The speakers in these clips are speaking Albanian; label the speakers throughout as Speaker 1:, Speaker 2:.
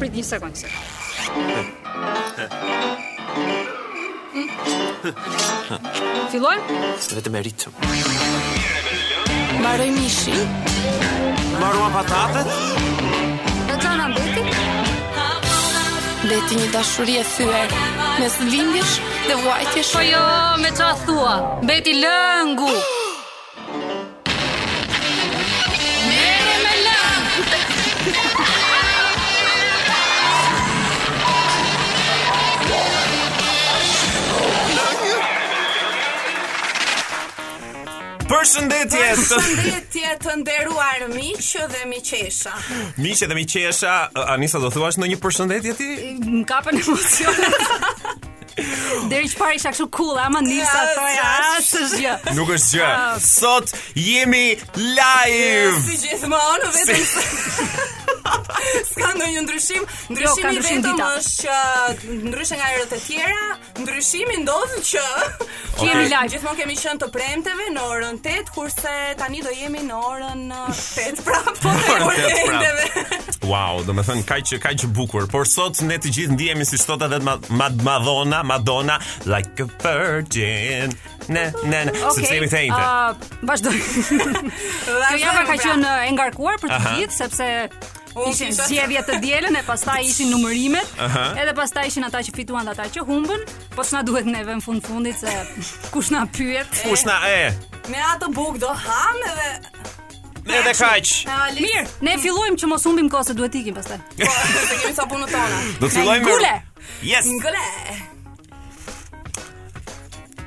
Speaker 1: prit një sekond se. Fillojmë?
Speaker 2: Vetëm e ritëm.
Speaker 3: Mbaroj mishi.
Speaker 2: Marrua patatet?
Speaker 1: Roxana Beti?
Speaker 3: Beti një dashuri e thyer mes lindjesh dhe vuajtjesh.
Speaker 1: Po jo, me qa thua? Beti lëngu! Mere me lëngu!
Speaker 2: Përshëndetje!
Speaker 3: Përshëndetje të nderuar miq dhe miqesha.
Speaker 2: Miqe dhe miqesha, Anisa do thuash ndonjë përshëndetje ti?
Speaker 1: Më kapën emocionet. Deri që pari isha kështu cool, ama nisa
Speaker 3: Ja,
Speaker 1: thoja, asë është gjë.
Speaker 2: Nuk është gjë. Sot jemi live.
Speaker 3: Si gjithmonë vetëm se Ska ndonjë ndryshim, ndryshimi
Speaker 1: Jo, ndryshim
Speaker 3: vetëm
Speaker 1: dita.
Speaker 3: është që ndryshe nga herët e tjera, ndryshimi ndodh që
Speaker 1: Jemi
Speaker 2: Okej.
Speaker 1: live.
Speaker 3: Gjithmonë kemi qenë të premteve në orën 8, kurse tani do jemi në orën uh, 8 prapë. Po
Speaker 2: Në orën 8 prapë.
Speaker 3: prapë.
Speaker 2: Wow, do me thënë kaq që kaq që bukur, por sot ne të gjithë ndihemi si sot edhe ma, ma, Madonna, Madonna, like a virgin. Ne, ne, ne, okay, sepse jemi të njëjtë.
Speaker 1: Uh, vazhdoj. Kjo Jo, java ka qenë e ngarkuar për të gjithë sepse
Speaker 3: Unë
Speaker 1: ishin
Speaker 3: kisha-
Speaker 1: zgjedhje të dielën e pastaj ishin numërimet,
Speaker 2: Aha.
Speaker 1: edhe pastaj ishin ata që fituan dhe ata që humbën, po s'na duhet neve në fund fundit se kush na pyet.
Speaker 2: Kush na e?
Speaker 3: Me atë buk do ham edhe
Speaker 2: Edhe kaq.
Speaker 1: Mirë, ne fillojmë që mos humbim kohë se duhet ikim pastaj.
Speaker 3: Po, se kemi sa punën tona.
Speaker 2: Do të fillojmë. me-
Speaker 1: ngule.
Speaker 2: Yes.
Speaker 3: Ngole.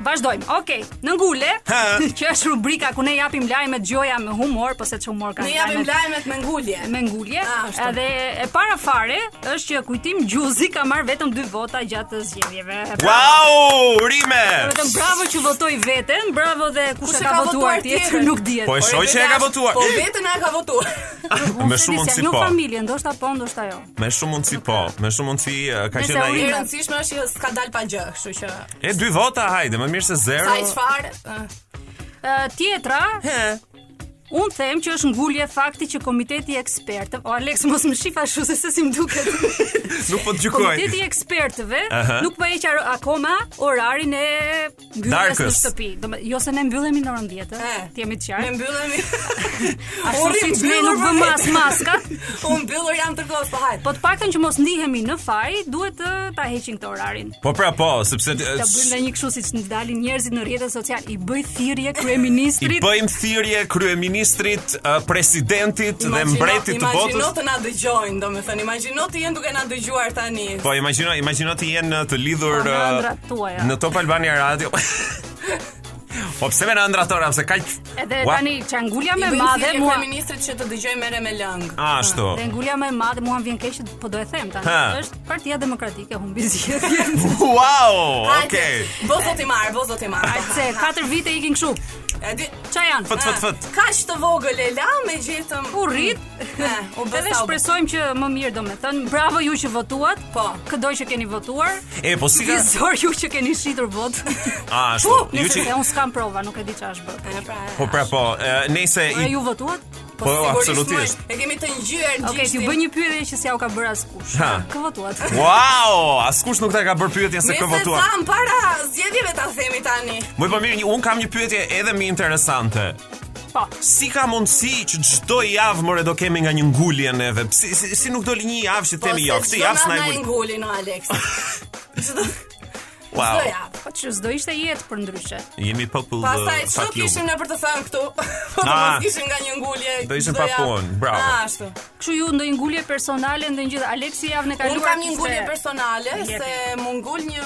Speaker 1: Vazhdojmë. Okej, në ngule,
Speaker 2: Ha.
Speaker 1: që është rubrika ku ne japim lajme gjoja me humor, po se çu humor ka.
Speaker 3: Ne japim lajmet me ngulje.
Speaker 1: me ngulje.
Speaker 3: A, ashtu.
Speaker 1: Edhe e para fare është që kujtim Gjuzi ka marr vetëm dy vota gjatë të zgjedhjeve.
Speaker 2: Wow, rime.
Speaker 1: Vetëm bravo që votoi veten, bravo dhe kush
Speaker 3: Kush
Speaker 1: e ka votuar tjetër nuk dihet.
Speaker 2: Po e shoj që e ka votuar.
Speaker 3: Po vetën e ka votuar.
Speaker 1: Unë
Speaker 2: Me
Speaker 1: se
Speaker 2: shumë
Speaker 1: di se
Speaker 2: mundësi
Speaker 1: Nuk
Speaker 2: po.
Speaker 1: familje, ndoshta po, ndoshta jo.
Speaker 2: Me shumë mundësi po, me shumë mundësi uh, ka
Speaker 1: Nëse
Speaker 2: qenë
Speaker 1: u
Speaker 3: E
Speaker 2: ai.
Speaker 1: ri-
Speaker 3: rëndësishme është që s'ka dal pa gjë, kështu që
Speaker 2: E dy vota, hajde, më mirë se zero.
Speaker 3: sa i çfarë. ë,
Speaker 1: Ë, tjetra, unë them që është ngulje fakti që komiteti i ekspertëve, o Alex mos më shifa ashtu se se si më duket.
Speaker 2: Nuk po të gjykoj.
Speaker 1: Komiteti i ekspertëve
Speaker 2: Aha.
Speaker 1: nuk po heq ar- akoma orarin e mbylljes në
Speaker 2: Darkës.
Speaker 1: shtëpi. Domethënë, jo se ne mbyllemi në orën 10,
Speaker 3: E.
Speaker 1: ti jemi të
Speaker 3: Ne
Speaker 1: qartë.
Speaker 3: mbyllemi.
Speaker 1: Ashtu
Speaker 3: Uri,
Speaker 1: siç ne
Speaker 3: mbyllur
Speaker 1: nuk
Speaker 3: për
Speaker 1: vëmë
Speaker 3: vete.
Speaker 1: as maskat,
Speaker 3: Unë mbyllur jam tërkohës, po hajt.
Speaker 1: po të paktën që mos ndihemi në faj, duhet të ta heqin këtë orarin.
Speaker 2: Po pra po, sepse uh,
Speaker 1: Ta bëjmë ndonjë kështu siç në dalin njerëzit në rrjetet sociale, i bëj thirrje kryeministrit.
Speaker 2: i bëjmë thirrje kryeministrit, uh, presidentit dhe
Speaker 3: Imagjino-
Speaker 2: mbretit të
Speaker 3: Imagjino
Speaker 2: botës.
Speaker 3: të na dëgjojnë, domethënë, imagjino të jenë duke na dëgjuar tani.
Speaker 2: Po imagjino, imagjino të jenë uh, të lidhur
Speaker 1: Po, në
Speaker 2: uh,
Speaker 1: ëndrat tuaja.
Speaker 2: në Top Albania Radio. Po pse me në ëndrat pse kaq
Speaker 1: Edhe
Speaker 2: Ua,
Speaker 1: tani që ngulja
Speaker 3: I
Speaker 1: më e
Speaker 3: bëjmë
Speaker 1: madhe
Speaker 3: thirrje
Speaker 1: mua
Speaker 3: kryeministrit që të dëgjojnë merre me lëng.
Speaker 2: Ashtu.
Speaker 1: Dhe ngulja më e madhe mua më vjen keq, po do e them tani.
Speaker 2: Ha.
Speaker 1: Është Partia Demokratike humbi zgjedhjen.
Speaker 2: Wow,
Speaker 3: Hajde,
Speaker 2: okay.
Speaker 3: Vot i marr, vot i marr.
Speaker 1: Ai se 4 vite ikin kështu.
Speaker 3: E di-
Speaker 1: Qa janë?
Speaker 2: Fët fët fët.
Speaker 3: Kaq të vogël e la me gjithëm.
Speaker 1: U rrit.
Speaker 3: E, u bë
Speaker 1: Edhe
Speaker 3: sa u bë.
Speaker 1: shpresojmë që më mirë do me thënë Bravo ju që votuat
Speaker 3: Po.
Speaker 1: Këdoj që keni votuar
Speaker 2: E po si ka?
Speaker 1: Vizor ju që keni shitur vot
Speaker 2: A, ashtu.
Speaker 1: Po,
Speaker 2: Ju
Speaker 1: nëse
Speaker 2: që-
Speaker 1: se unë s'kam prova, nuk e di që është bërë
Speaker 3: E, pra, e.
Speaker 2: Po pra po, uh, nëse
Speaker 1: Por
Speaker 2: i
Speaker 1: ju votuat?
Speaker 2: Po,
Speaker 3: Sigurisht,
Speaker 2: absolutisht.
Speaker 3: moj, E kemi të ngjyer gjithë.
Speaker 1: Okej, t'ju bëj një pyetje që s'ja u ka bërë askush
Speaker 2: Ha.
Speaker 1: Kë votuat?
Speaker 2: Wow, askush nuk ta ka bërë pyetjen se kë votuar.
Speaker 3: Sa më para zgjedhjeve ta themi tani.
Speaker 2: Më po mirë, un kam një pyetje edhe më interesante.
Speaker 1: Po,
Speaker 2: Si ka mundësi që çdo javë more do kemi nga një ngulje neve? Si, si, si nuk doli një javë që
Speaker 3: Po,
Speaker 2: themi jo, këtë javë s'na
Speaker 3: ngul.
Speaker 2: ngul.
Speaker 3: ngulin o Alex. Çdo
Speaker 2: Wow.
Speaker 3: javë.
Speaker 1: po që s'do ishte jetë për ndryshe
Speaker 2: Jemi popull uh,
Speaker 3: Pastaj çdo
Speaker 2: fuck you.
Speaker 3: kishim ne për të thënë këtu. Po do
Speaker 2: Ah.
Speaker 3: mos kishim nga një ngulje.
Speaker 2: Do ishim
Speaker 3: çdo
Speaker 2: pa
Speaker 3: javë.
Speaker 2: punë, bravo.
Speaker 3: Ashtu.
Speaker 1: Kështu ju ndonjë ngulje personale, ndonjë gjë Aleksi javën e kaluar.
Speaker 3: Unë kam një
Speaker 1: kishte-
Speaker 3: ngulje personale se më ngul një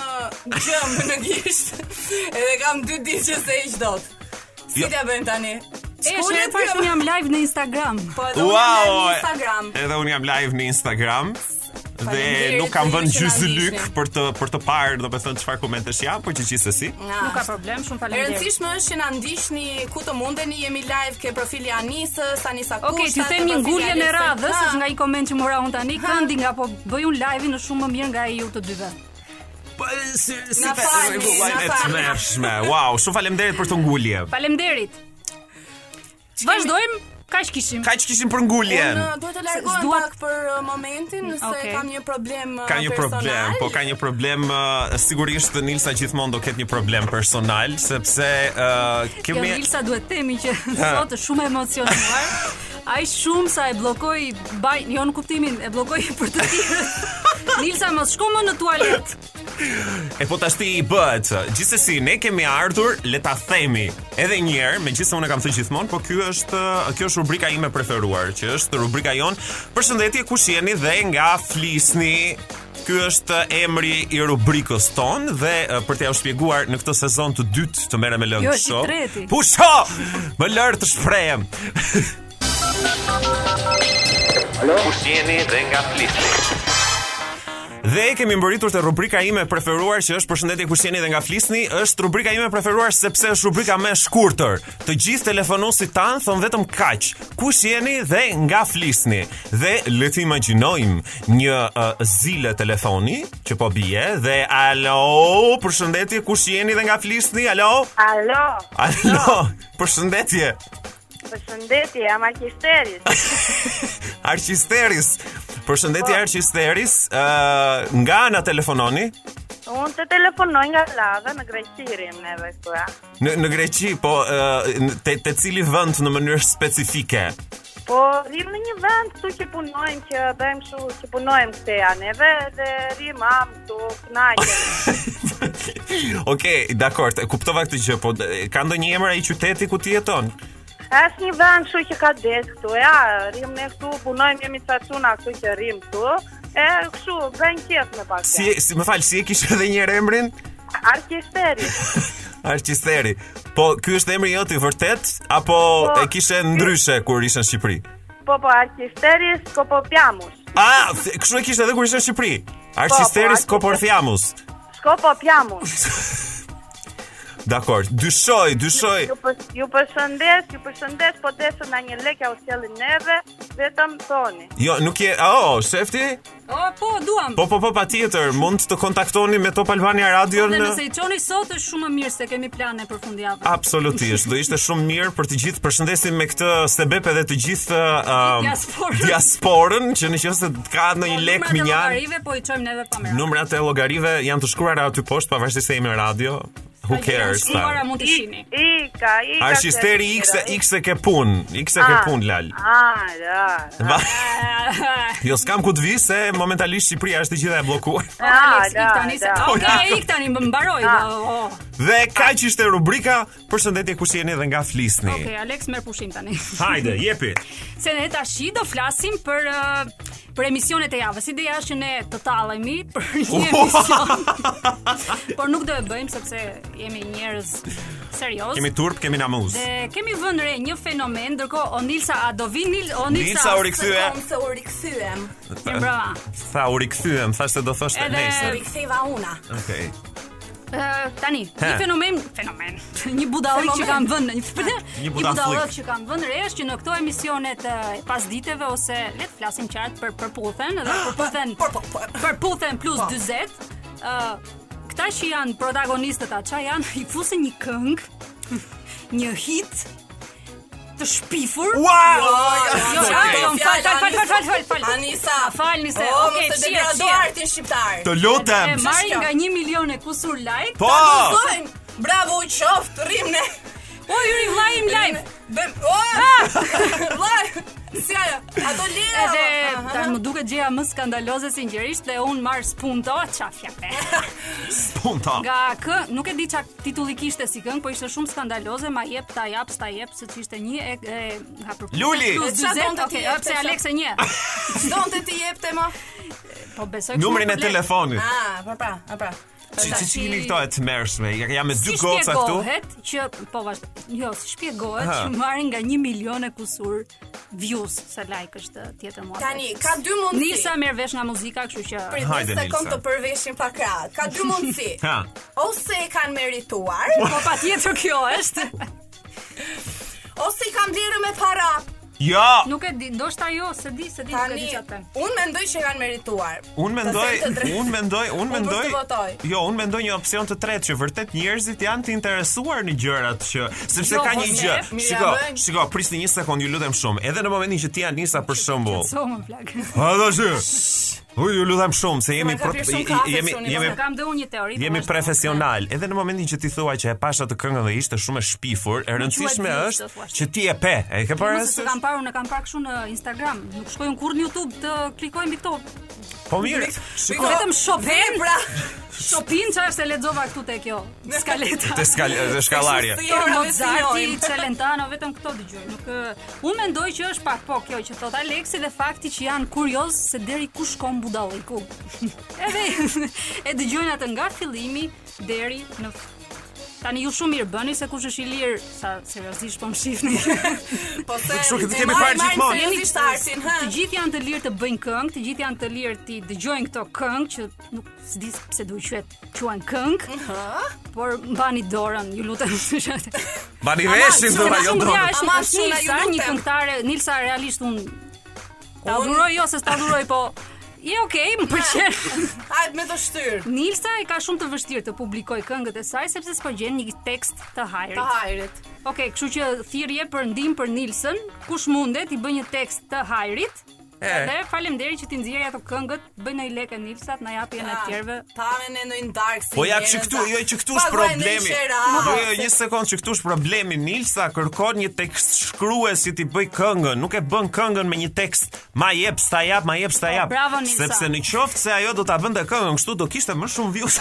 Speaker 3: gjëmë në gisht edhe kam dy ditë që se hiq dot. Si
Speaker 2: Jo.
Speaker 3: t'ja bëjmë tani?
Speaker 1: E, shë e
Speaker 3: Shkullet
Speaker 1: parë që
Speaker 3: kjo?
Speaker 1: unë jam live në Instagram.
Speaker 3: Po edhe unë jam
Speaker 2: Wow.
Speaker 3: në Instagram.
Speaker 2: Edhe un jam live në Instagram dhe
Speaker 3: Faleminderit
Speaker 2: nuk kam
Speaker 3: që
Speaker 2: vënë
Speaker 3: ju që na
Speaker 2: gjysë lyk
Speaker 3: ndiqni.
Speaker 2: për të për të parë, domethënë çfarë komentesh janë, por po që gjithsesi.
Speaker 1: Nuk
Speaker 3: Ah.
Speaker 1: ka problem, shumë
Speaker 3: E
Speaker 1: faleminderit.
Speaker 3: rëndësishme është që na ndiqni ku të mundeni, jemi live ke profili Anisës, Anisa Kushta.
Speaker 1: Okej, t'ju
Speaker 3: ke
Speaker 1: them një
Speaker 3: profili
Speaker 1: ngulje në
Speaker 3: Alexit.
Speaker 1: radhës,
Speaker 3: Ha,
Speaker 1: është nga i koment që mora unë tani, këndi nga po bëj unë live në shumë më mirë nga e ju të dyve.
Speaker 2: Po si si
Speaker 3: Na
Speaker 2: pe-
Speaker 3: falni, na
Speaker 2: e
Speaker 3: falni.
Speaker 2: tmerrshme. Wow, shumë faleminderit për këtë ngulje.
Speaker 1: Faleminderit. Vazhdojmë Kaq kishim.
Speaker 2: Kaq kishim për nguljen.
Speaker 3: Unë duhet të largohem
Speaker 1: S'dua-
Speaker 3: pak për uh, momentin nëse
Speaker 1: Okej.
Speaker 3: kam një problem uh,
Speaker 2: Ka një problem,
Speaker 3: personal.
Speaker 2: po ka një problem uh, sigurisht dhe Nilsa gjithmonë do ketë një problem personal sepse uh,
Speaker 1: Jo,
Speaker 2: kemi
Speaker 1: Nilsa duhet temi që sot është shumë e emocionuar. Ai shumë sa e bllokoi baj, jo në kuptimin, e bllokoi për të tjerët. Nilsa mos shko më në tualet.
Speaker 2: E po tash ti i bëhet. Gjithsesi ne kemi ardhur, le ta themi edhe një herë, megjithëse unë e kam thënë gjithmonë, po ky është kjo është rubrika ime e preferuar, që është rubrika jon Përshëndetje kush jeni dhe nga flisni. Ky është uh, emri i rubrikës ton dhe e, për t'ja u shpjeguar në këtë sezon të dytë të merrem me lëngë
Speaker 1: Jo, është i treti.
Speaker 2: Pusho! Më lër të shprehem.
Speaker 4: Kush jeni dhe nga flisni.
Speaker 2: Dhe e kemi mbërritur te rubrika ime e preferuar që është përshëndetje kush jeni dhe nga flisni, është rubrika ime e preferuar sepse është rubrika më e shkurtër. Të gjithë telefonuesit tan thon vetëm kaq. Kush jeni dhe nga flisni. Dhe le të imagjinojmë një uh, zile telefoni që po bie dhe alo, përshëndetje kush jeni dhe nga flisni, alo.
Speaker 5: Alo,
Speaker 2: Alo, përshëndetje.
Speaker 5: përshëndetje, jam Alkisteris.
Speaker 2: Arqisteris. Përshëndetje Arqisteris, uh, nga ana telefononi?
Speaker 5: Unë të telefonoj nga Lava në Greqirim neve këtua.
Speaker 2: Në në Greqi, po ë, në- te te cili vend në mënyrë specifike?
Speaker 5: Po, rrim në një vend këtu që punojmë, që bëjmë shu, që punojmë këte neve, dhe rrim am këtu knaqem.
Speaker 2: Okej, dakor, e kuptova këtë gjë, po e, ka ndonjë emër ai qyteti ku ti jeton?
Speaker 5: Është një vend shu që ka des këtu, ja, rrim ne këtu, punojmë jemi ca çuna këtu që rrim këtu, e kështu, bëjmë qef me pak.
Speaker 2: Si, e- si më fal, si e kishe edhe një herë emrin?
Speaker 5: Arkisteris.
Speaker 2: Arqisteri. Po ky është emri jot i vërtet apo
Speaker 5: Po.
Speaker 2: e kishe ndryshe kur ishe në Shqipëri?
Speaker 5: Po, po, Arkisteris, po, po, pjamush.
Speaker 2: A, th- kështu e kishe edhe kur ishe në Shqipëri. Arqisteris
Speaker 5: po,
Speaker 2: Koporthiamus.
Speaker 5: Shko, po, pjamush.
Speaker 2: Dakor, dyshoj, dyshoj.
Speaker 5: Ju, për, ju përshëndes, ju përshëndes, po desën na një lekja u sjellin neve, vetëm thoni.
Speaker 2: Jo, nuk je, oh, shefti?
Speaker 1: O, po, duam.
Speaker 2: Po, po, po, patjetër, mund të kontaktoni me Top Albania Radio
Speaker 1: Dhe
Speaker 2: në
Speaker 1: nëse i çoni sot është shumë më mirë se kemi plane për fundjavën.
Speaker 2: Absolutisht, do ishte shumë mirë për të gjithë. Përshëndesim me këtë sebep edhe të gjithë um,
Speaker 1: Diasporën.
Speaker 2: diasporën që nëse ka ndonjë lek
Speaker 1: Po, Numrat e
Speaker 2: minjan,
Speaker 1: llogarive, po i çojmë neve pa merë.
Speaker 2: numrat e llogarive janë të shkruara aty poshtë pavarësisht se jemi në radio. Who cares? ta.
Speaker 1: Para mund të shihni.
Speaker 5: Ika, Ika.
Speaker 2: Arshisteri
Speaker 5: se-
Speaker 2: X X e ke pun, X e ke pun lal.
Speaker 5: Ah, da.
Speaker 2: Va- Jo s'kam ku të vi se momentalisht Shqipëria është e gjitha e bllokuar.
Speaker 1: Ah,
Speaker 5: da,
Speaker 1: ik tani se.
Speaker 5: da.
Speaker 1: Okej, ik tani më mbaroj. do, oh. o.
Speaker 2: Dhe kaq ishte rubrika Përshëndetje kush jeni dhe nga flisni.
Speaker 1: Okej, Alex merr pushim tani.
Speaker 2: Hajde, jepi.
Speaker 1: Se ne tash do flasim për ë, për emisionet e javës. Ideja është që ne të tallemi për një emision, por nuk do e bëjmë sepse jemi njerëz serioz.
Speaker 2: Kemi turp, kemi namuz.
Speaker 1: Dhe kemi vënë re një fenomen, ndërkohë Onilsa a do vi Nil Onilsa?
Speaker 2: Nilsa u rikthye.
Speaker 3: Kam se u rikthyem.
Speaker 1: Mirë, Brava.
Speaker 2: Tha u rikthyem, thashë se do thoshte
Speaker 1: Edhe-
Speaker 2: nesër.
Speaker 3: Riktheva una.
Speaker 2: Okej.
Speaker 1: Ë, tani, një
Speaker 2: He.
Speaker 1: fenomen, fenomen. Një budallëk që
Speaker 3: Fenomen.
Speaker 1: kam vënë, një, një
Speaker 2: budallik.
Speaker 1: budallëk që kam vënë re është që në këto emisionet e pasditeve ose le të flasim qartë për përputhen dhe përputhen
Speaker 3: Po, po, po.
Speaker 1: përputhen plus 40, ë këta që janë protagonistët ata, çfarë janë? I fusin një këngë, një hit të shpifur.
Speaker 2: Wow!
Speaker 1: Jo,
Speaker 3: Jo,
Speaker 1: ah,
Speaker 2: Okej.
Speaker 1: jo, më fal, fal, fal, fal, fal, fal, fal.
Speaker 3: Anisa.
Speaker 1: Falni se,
Speaker 3: O,
Speaker 1: okej,
Speaker 3: mos e
Speaker 1: qiet,
Speaker 3: degrado
Speaker 1: qiet.
Speaker 3: artin shqiptar.
Speaker 2: Të
Speaker 1: E
Speaker 2: lutem.
Speaker 1: marrin nga 1 milion e kusur like.
Speaker 2: Po.
Speaker 3: Gëzojmë. Bravo, u qoftë, rrim ne. Po,
Speaker 1: O, yuri vllai im live.
Speaker 3: Bëm. O! Live. Oh! Si ajo? Ato lira.
Speaker 1: Edhe
Speaker 3: Aha.
Speaker 1: tani më duket gjëja më skandaloze sinqerisht dhe un marr spunto ça fjape.
Speaker 2: Punta.
Speaker 1: Nga kë, nuk e di ça titulli kishte si këngë, po ishte shumë skandaloze, ma jep ta jap, sta jep, se ç'ishte një e, e nga përputhen
Speaker 2: Luli!
Speaker 1: plus
Speaker 3: E ça
Speaker 1: 40,
Speaker 3: donte ti
Speaker 1: okej,
Speaker 3: jepte,
Speaker 1: hapse
Speaker 3: ça?
Speaker 1: Aleksa një.
Speaker 3: Donte ti jepte më?
Speaker 1: Po besoj
Speaker 2: Numrin e telefonit.
Speaker 3: Ah, po pra, a pra.
Speaker 2: Çi çi
Speaker 1: si-
Speaker 2: keni këto e të mërshme? Ja jam me dy
Speaker 1: Si
Speaker 2: goca këtu.
Speaker 1: shpjegohet që po vazhdo. Jo, si shpjegohet
Speaker 2: Aha.
Speaker 1: që marrin nga 1 milion e kusur views, se like është tjetër mua.
Speaker 3: Tani ka dy mundësi.
Speaker 1: Nilsa merr vesh nga muzika, kështu që
Speaker 3: Prit,
Speaker 2: Hajde,
Speaker 3: një sekond
Speaker 2: Nilsa.
Speaker 3: të përveshin pa krahët. Ka dy mundësi.
Speaker 2: Ha.
Speaker 3: Ose e kanë merituar,
Speaker 1: po patjetër kjo është.
Speaker 3: ose i kanë blerë me para.
Speaker 2: Jo,
Speaker 1: Nuk e di, ndoshta jo, se di, se di, nuk e
Speaker 6: Tani,
Speaker 1: di çatë.
Speaker 6: unë mendoj që kanë merituar.
Speaker 2: unë mendoj, unë mendoj, unë
Speaker 6: Unë
Speaker 2: mendoj.
Speaker 6: për të votoj.
Speaker 2: Jo, unë mendoj një opsion të tretë që vërtet njerëzit janë të interesuar në gjërat që sepse
Speaker 1: Jo,
Speaker 2: ka një
Speaker 1: Josef,
Speaker 2: gjë.
Speaker 6: mira
Speaker 2: Shiko,
Speaker 6: bëj.
Speaker 2: shiko, prisni një sekond, ju lutem shumë. Edhe në momentin që ti Anisa për shembull.
Speaker 1: So më plak.
Speaker 2: Ha tash. Uj, ju lutem shumë se jemi
Speaker 6: Ma ka
Speaker 2: pro-
Speaker 6: pirë shumë
Speaker 2: i-
Speaker 6: kafe,
Speaker 2: i- jemi
Speaker 6: Suni,
Speaker 2: jemi
Speaker 1: Se kam dhe unë një teori.
Speaker 2: Jemi
Speaker 1: po,
Speaker 2: profesional. Edhe në momentin që ti thua që e pasha të këngën dhe ishte shumë e shpifur, e rëndësishme
Speaker 1: quhet Vinç,
Speaker 2: është
Speaker 1: do thuash.
Speaker 2: që ti e pe. E ke
Speaker 1: Po
Speaker 2: parë?
Speaker 1: se kam parë, unë e kam parë kështu në Instagram. Nuk shkoj unë kur në YouTube të klikoj mbi këto.
Speaker 2: Po mirë.
Speaker 1: Shiko,
Speaker 2: Shiko.
Speaker 1: vetëm Chopin,
Speaker 3: pra.
Speaker 6: Vepra.
Speaker 1: Chopin çfarë se lexova këtu te kjo. Skaleta.
Speaker 2: Te skal- te shkallarje.
Speaker 6: Kështu
Speaker 1: Këto
Speaker 6: Jepra,
Speaker 1: Mozarti,
Speaker 6: vesinojmë.
Speaker 1: Celentano, vetëm këto dëgjoj. Nuk ë, unë mendoj që është pak po kjo që thot Aleksi dhe fakti që janë kurioz se deri ku shkon budalliku. Edhe e dëgjojnë atë nga fillimi deri në f- Tani ju shumë mirë bëni se kush është i lirë, sa seriozisht po më shihni.
Speaker 6: Po se
Speaker 2: Kështu që
Speaker 6: e
Speaker 2: ti kemi
Speaker 6: marrin-
Speaker 2: parë
Speaker 6: marrin
Speaker 2: gjithmonë.
Speaker 6: seriozisht artin, ha.
Speaker 1: Të gjithë janë të lirë të bëjnë këngë, të gjithë janë të lirë ti dëgjojnë këto këngë që nuk s'di pse duhet quhet quhen këngë, por mbani dorën, ju lutem.
Speaker 2: Bani veshin jo do
Speaker 1: Ama,
Speaker 2: ajo
Speaker 1: shumë
Speaker 2: dronë.
Speaker 1: vja është-
Speaker 6: Ama,
Speaker 1: është
Speaker 6: Shuna, ju
Speaker 1: Nilsa, një
Speaker 6: lutem.
Speaker 1: këngëtare, Nilsa realisht un ta
Speaker 6: Unë-
Speaker 1: adhuroj jo se s'ta adhuroj, po Je okay, më pëlqen.
Speaker 6: Hajt me të shtyr.
Speaker 1: Nilsa e ka shumë të vështirë të publikoj këngët e saj sepse s'po gjen një tekst të hajrit.
Speaker 6: Të hajrit.
Speaker 1: Okej, kështu që thirrje për ndihmë për Nilsën, kush mundet i bëj një tekst të hajrit.
Speaker 2: E.
Speaker 1: Dhe faleminderit që ti nxjerrja ato këngët, bëj në i lekë Nilsat, na japi janë
Speaker 6: Ah.
Speaker 1: të tjerëve.
Speaker 6: Ta me në ndonjë dark si.
Speaker 2: Po ja që këtu, jo që këtu është problemi. Jo, jo, një sekond që këtu është problemi. Nilsa kërkon një tekst shkrues si ti bëj këngën, nuk e bën këngën me një tekst. Ma jep, sta jap, ma jep, sta jap.
Speaker 1: Po, bravo, Nilsa.
Speaker 2: Sepse në qoftë se ajo do ta bënte këngën kështu do kishte më shumë views.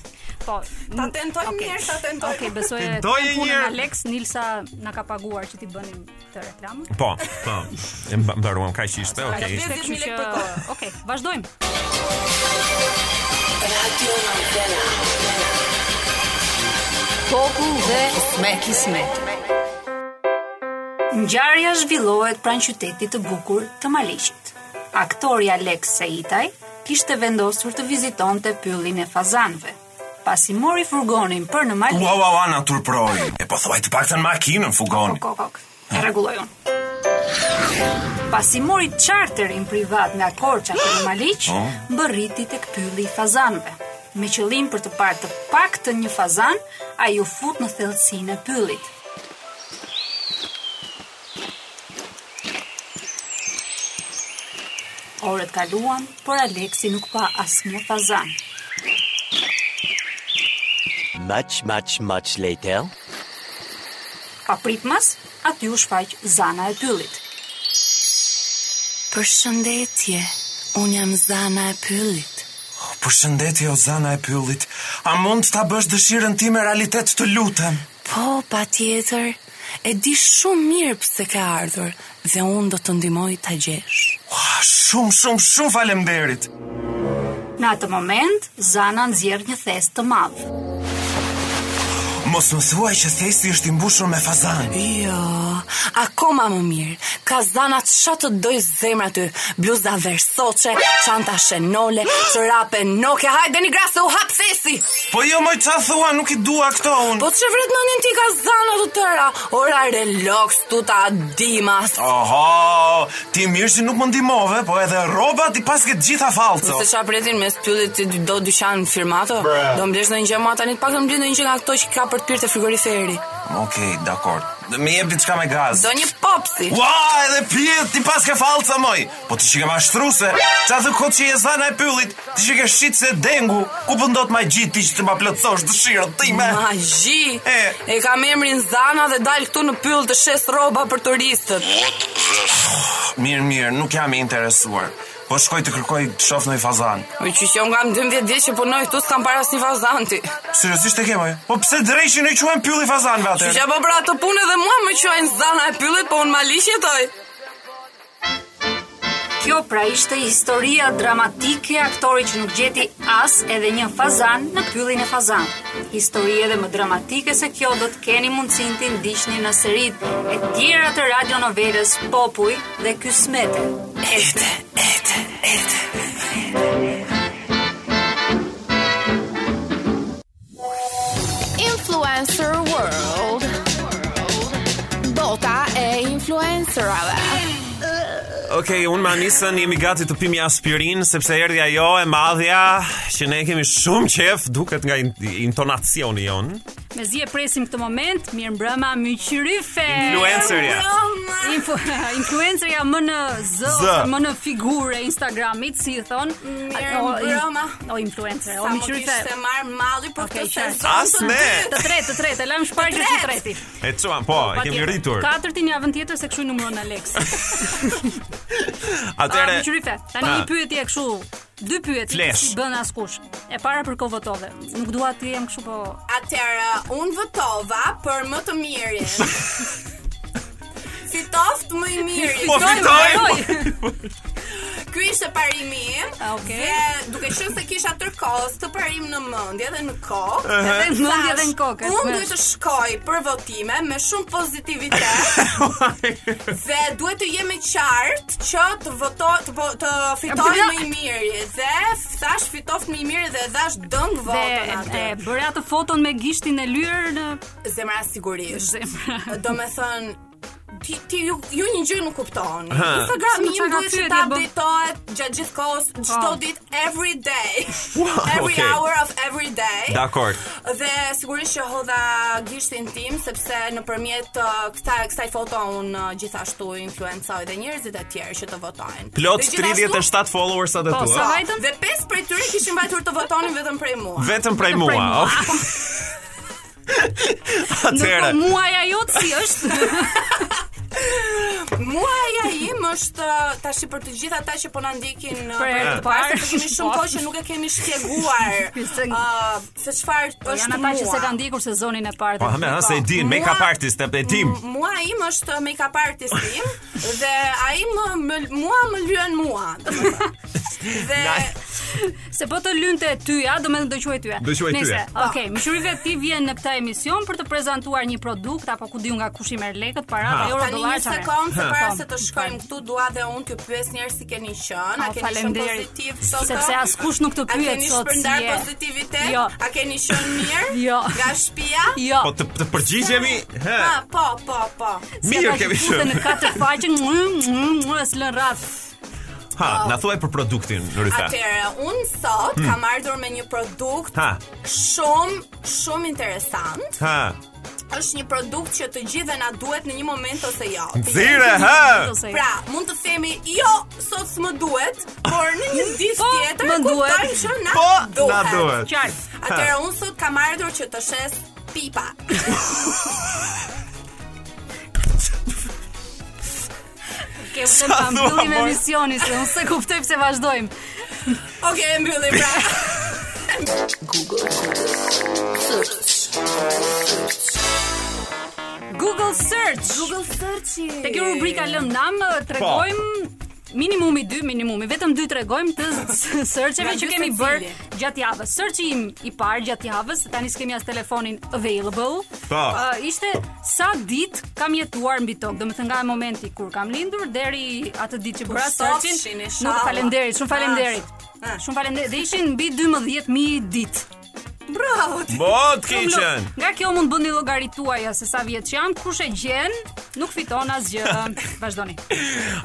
Speaker 1: Po.
Speaker 6: Ta tentojmë mirë, ta tentojmë.
Speaker 1: Okej, besoj e
Speaker 2: Tentoje
Speaker 1: kem punën
Speaker 2: njërë.
Speaker 1: Alex, Nilsa na ka paguar që ti bënim të reklamën.
Speaker 2: Po, po. E mba- mbaruam kaq ishte,
Speaker 1: Pra,
Speaker 2: okay.
Speaker 6: 50.000
Speaker 1: Kështu
Speaker 6: lekë
Speaker 1: që,
Speaker 6: për kohë.
Speaker 1: okej, vazhdojmë.
Speaker 7: Koku dhe smeti smet.
Speaker 1: Ngjarja zhvillohet pranë qytetit të bukur të Maliqit. Aktori Alex Saitaj kishte vendosur të vizitonte pyllin e fazanëve. Pasi mori furgonin për në Mali,
Speaker 2: Ua ua ua naturproj. E po thuaj të paktën makinën fugon.
Speaker 1: Kok, kok, kok. E rregulloj unë. Pasi mori charterin privat nga Korça për në Maliq, mbërriti tek pylli i fazanëve. Me qëllim për të parë të paktën një fazan, ai u fut në thellësinë e pyllit. Orët kaluan, por Aleksi nuk pa asnjë fazan.
Speaker 8: Much, much, much later.
Speaker 1: Pa pritmas, aty u shfaq zana e pyllit.
Speaker 3: Përshëndetje, unë jam Zana e Pyllit.
Speaker 2: Përshëndetje o zana e pyllit. A mund ta bësh dëshirën time realitet të lutem?
Speaker 3: Po, pa tjetër, e di shumë mirë pse ka ardhur dhe unë do të ndimoj të gjesh.
Speaker 2: Ua, shumë shumë shumë faleminderit.
Speaker 1: Në atë moment, Zana nxjerr një thes të madh.
Speaker 2: Mos më thuaj që thesi është i mbushur me fazan.
Speaker 3: Jo, akoma më mirë, ka Zana të shatë të dojë zemra ty, bluza versoqe, çanta shenole, çorape noke, hajde një grasë u hapë sesi!
Speaker 2: Po jo më çfarë thua, nuk i dua këto unë.
Speaker 3: Po të shëvret në ti ka Zana të tëra, ora relax, tuta dimas,
Speaker 2: Oho, ti mirë që nuk më ndihmove, po edhe rrobat i pas këtë gjitha fallco.
Speaker 3: Se qa pretin me spyllit ti do dyqan firmatë, do mblesh ndonjë gjë më tani të paktën mbledh ndonjë gjë nga ato që ka për të pirë te frigoriferi.
Speaker 2: Okej, dakor. Më jep diçka me gaz.
Speaker 3: Do një popsi.
Speaker 2: Ua, edhe pjet, ti pas ke falca moj Po ti që ke mashtruse Qa të kot që je zana e pyllit Ti që ke shqit se dengu Ku pëndot ma gjitë ti që të ma plëtsosh dëshirën time
Speaker 3: Magji.
Speaker 2: E.
Speaker 3: E kam emrin Zana dhe dal këtu në pyll të shes rroba për turistët.
Speaker 2: Mirë, mirë, nuk jam i interesuar Po shkoj të kërkoj të shof në i fazan
Speaker 3: Me që që unë kam 12 vjetë që punoj këtu s'kam para asnjë fazanti.
Speaker 2: Seriosisht e ke moj Po pse drejshin e quen pylli fazan
Speaker 3: Që
Speaker 2: vate
Speaker 3: që po pra të punë dhe mua më quajnë Zana e pyllit, po unë malish jetoj.
Speaker 1: Kjo pra ishte historia dramatike e aktorit që nuk gjeti as edhe një fazan në pyllin e fazan. Histori edhe më dramatike se kjo do të keni mundësin të ndiqni në serit e tjera të radionovelës Popuj dhe Kysmete.
Speaker 3: Ete, ete, ete.
Speaker 9: Influencer World Bota e
Speaker 10: Kacërave
Speaker 11: Okej, unë me Anisën jemi gati të pimi aspirin sepse erdhi ajo e madhja që ne kemi shumë qef, duket nga in- intonacioni jon.
Speaker 1: Me zi e presim këtë moment, mirë mbrëma, myqyryfe.
Speaker 11: Influencerja.
Speaker 1: Info, influencerja më në zë,
Speaker 11: Zë.
Speaker 1: ose më në figure Instagramit, si i thon.
Speaker 3: Mirë
Speaker 1: O, i-
Speaker 3: mbrëma.
Speaker 1: O influencer, o
Speaker 3: Sa më kishë
Speaker 1: myqyryfe.
Speaker 3: se marë mali për
Speaker 1: Okej,
Speaker 3: këtë
Speaker 1: qartë.
Speaker 3: sezon
Speaker 11: As
Speaker 3: të
Speaker 11: ne.
Speaker 3: dytë.
Speaker 1: Të tretë, të tretë, e lajmë shpargjë të treti.
Speaker 11: E çuam, po, e kemi rritur.
Speaker 1: Katërtin javën tjetër se kshu i numëron Alex. Atëre.
Speaker 11: Atëre,
Speaker 1: Më qyri fe. Tani
Speaker 11: Pa.
Speaker 1: një pyetje kështu, dy pyetje
Speaker 11: Flash.
Speaker 1: si bën askush. E para për kohë votove. Nuk dua të jem kështu po
Speaker 3: Atëherë, unë votova për më të mirin. Fitoft më i miri.
Speaker 11: Po,
Speaker 3: Fitoj,
Speaker 11: fitoj,
Speaker 3: fitoj.
Speaker 11: po.
Speaker 3: Ky ishte parimi im.
Speaker 1: A, okej.
Speaker 3: Dhe duke qenë se kisha tërkohës të parim në mendje dhe në kohë.
Speaker 1: edhe në mendje dhe në
Speaker 3: Thash,
Speaker 1: kokë.
Speaker 3: Unë duhet të shkoj për votime me shumë pozitivitet
Speaker 11: po,
Speaker 3: dhe duhet të jemi qartë që të votoj të, vo- të fitoj
Speaker 1: Bra-
Speaker 3: më i miri dhe f- thash fitoft më i miri dhe dhash dëng
Speaker 1: Dhe
Speaker 3: votën atë.
Speaker 1: e bëri atë foton me gishtin e lyer në
Speaker 3: Zemra sigurisht.
Speaker 1: zemër.
Speaker 3: Do me thënë, ti, ti ju, ju një gjë nuk kupton.
Speaker 11: Ha.
Speaker 3: Instagrami
Speaker 1: S'më
Speaker 3: im
Speaker 1: çka
Speaker 3: duhet që
Speaker 1: pyetje
Speaker 3: ta
Speaker 1: bë.
Speaker 3: updatohet gjatë gjithë kohës, çdo
Speaker 1: Po.
Speaker 3: ditë every day.
Speaker 11: Wow,
Speaker 3: every
Speaker 11: okay.
Speaker 3: hour of every day.
Speaker 11: dakor.
Speaker 3: Dhe sigurisht që hodha gishtin tim sepse nëpërmjet uh, këta kësaj foto un uh, gjithashtu influencoj dhe njerëzit e tjerë që të votojnë.
Speaker 11: Plot
Speaker 3: Dhe gjithashtu-
Speaker 11: 37 followersat e
Speaker 1: Po,
Speaker 11: tua.
Speaker 1: sa vajtën?
Speaker 3: Dhe pesë prej tyre kishin vajtur të votonin vetëm prej mua.
Speaker 11: Vetëm prej
Speaker 1: prej
Speaker 11: mua.
Speaker 1: mua.
Speaker 11: ok. Atëre.
Speaker 1: Ndërkohë muaja jotë si është?
Speaker 3: Muaja im është tash për të gjithë ata që po na ndjekin uh,
Speaker 1: Për herë të parë.
Speaker 3: se kemi shumë kohë që nuk e kemi shpjeguar
Speaker 1: Se-
Speaker 3: uh, se çfarë është mua.
Speaker 1: Po, Janë ata që se kanë ndjekur sezonin e parë.
Speaker 11: Po, ha, me, ha, se e din, make-up
Speaker 3: Mua-
Speaker 11: artist e tim.
Speaker 3: M- Mua im është make-up artist im dhe ai më, më mua më lyen mua. domethënë. Dhe
Speaker 11: Na-
Speaker 1: Se po të lynte tyja, do me do quaj tyja.
Speaker 11: Do quaj tyja.
Speaker 1: Nëse, okej, më shurive ti vjen në këtë emision për të prezantuar një produkt, apo ku diu nga kush i merë lekët,
Speaker 11: Ha.
Speaker 1: para, euro,
Speaker 3: Tani një
Speaker 1: dolar, çfarë.
Speaker 3: sekond se para
Speaker 1: Po.
Speaker 3: se të shkojmë këtu dua dhe unë t'ju pyes njerë si keni qenë, a
Speaker 1: O,
Speaker 3: keni qenë
Speaker 1: Oh, faleminderit.
Speaker 3: pozitiv sot?
Speaker 1: Sepse askush nuk të
Speaker 3: A
Speaker 1: pyet
Speaker 3: keni
Speaker 1: sot si
Speaker 3: shpërndar
Speaker 1: je.
Speaker 3: pozitivitet?
Speaker 1: Jo.
Speaker 3: A keni qenë mirë?
Speaker 1: Jo.
Speaker 3: Nga shtëpia?
Speaker 1: Jo,
Speaker 11: Po të, të përgjigjemi, hë.
Speaker 3: Ha, po, po, po.
Speaker 11: Mirë kemi
Speaker 1: Të pra në
Speaker 11: qenë.
Speaker 1: katër faqe, mu, mu, mu, s'lën rraf.
Speaker 11: Ha, na thuaj për produktin, Rytha.
Speaker 3: Atëre, unë sot
Speaker 11: Hmm.
Speaker 3: kam ardhur me një produkt
Speaker 11: Ha.
Speaker 3: shumë, shumë interesant.
Speaker 11: Ha.
Speaker 3: është një produkt që të gjithëve na duhet në një moment ose jo.
Speaker 11: Nxire, ha.
Speaker 1: Ose-
Speaker 3: Pra, mund të themi, jo, sot s'më duhet, por në një ditë
Speaker 1: Po,
Speaker 3: tjetër
Speaker 1: më duhet.
Speaker 3: kuptojmë që na
Speaker 11: Po,
Speaker 3: duhet.
Speaker 11: na duhet.
Speaker 1: Qartë.
Speaker 3: Atëherë unë sot kam ardhur që të shes pipa.
Speaker 1: Ke u të
Speaker 11: thua,
Speaker 1: mbyllim
Speaker 11: mor?
Speaker 1: emisioni, se unë se kuptoj pse vazhdojmë.
Speaker 3: Okej, e mbyllim pra.
Speaker 1: Google Search. Google Search. Te kjo rubrika lëm nam
Speaker 3: Po.
Speaker 1: tregojmë Minimumi 2, minimumi, vetëm 2 tregojmë të s- searcheve
Speaker 3: Nga
Speaker 1: që
Speaker 3: dy
Speaker 1: kemi
Speaker 3: secili.
Speaker 1: bërë gjatë javës. Searchi im i parë gjatë javës, se tani s'kemi as telefonin available.
Speaker 11: Po.
Speaker 1: ë, ishte sa ditë kam jetuar mbi tokë, domethënë nga momenti kur kam lindur deri atë ditë që bëra
Speaker 3: sofshin,
Speaker 1: searchin. Nuk
Speaker 3: Po, inshallah.
Speaker 1: faleminderit, shumë faleminderit.
Speaker 3: Ah.
Speaker 1: Shumë faleminderit. Dhe ishin mbi 12000 ditë.
Speaker 3: Bravo. ti.
Speaker 1: Shumë lo-
Speaker 11: Bot kitchen.
Speaker 1: Nga kjo mund bëni llogarit tuaja se sa vjeç jam, kush e gjen, nuk fiton asgjë. Vazhdoni.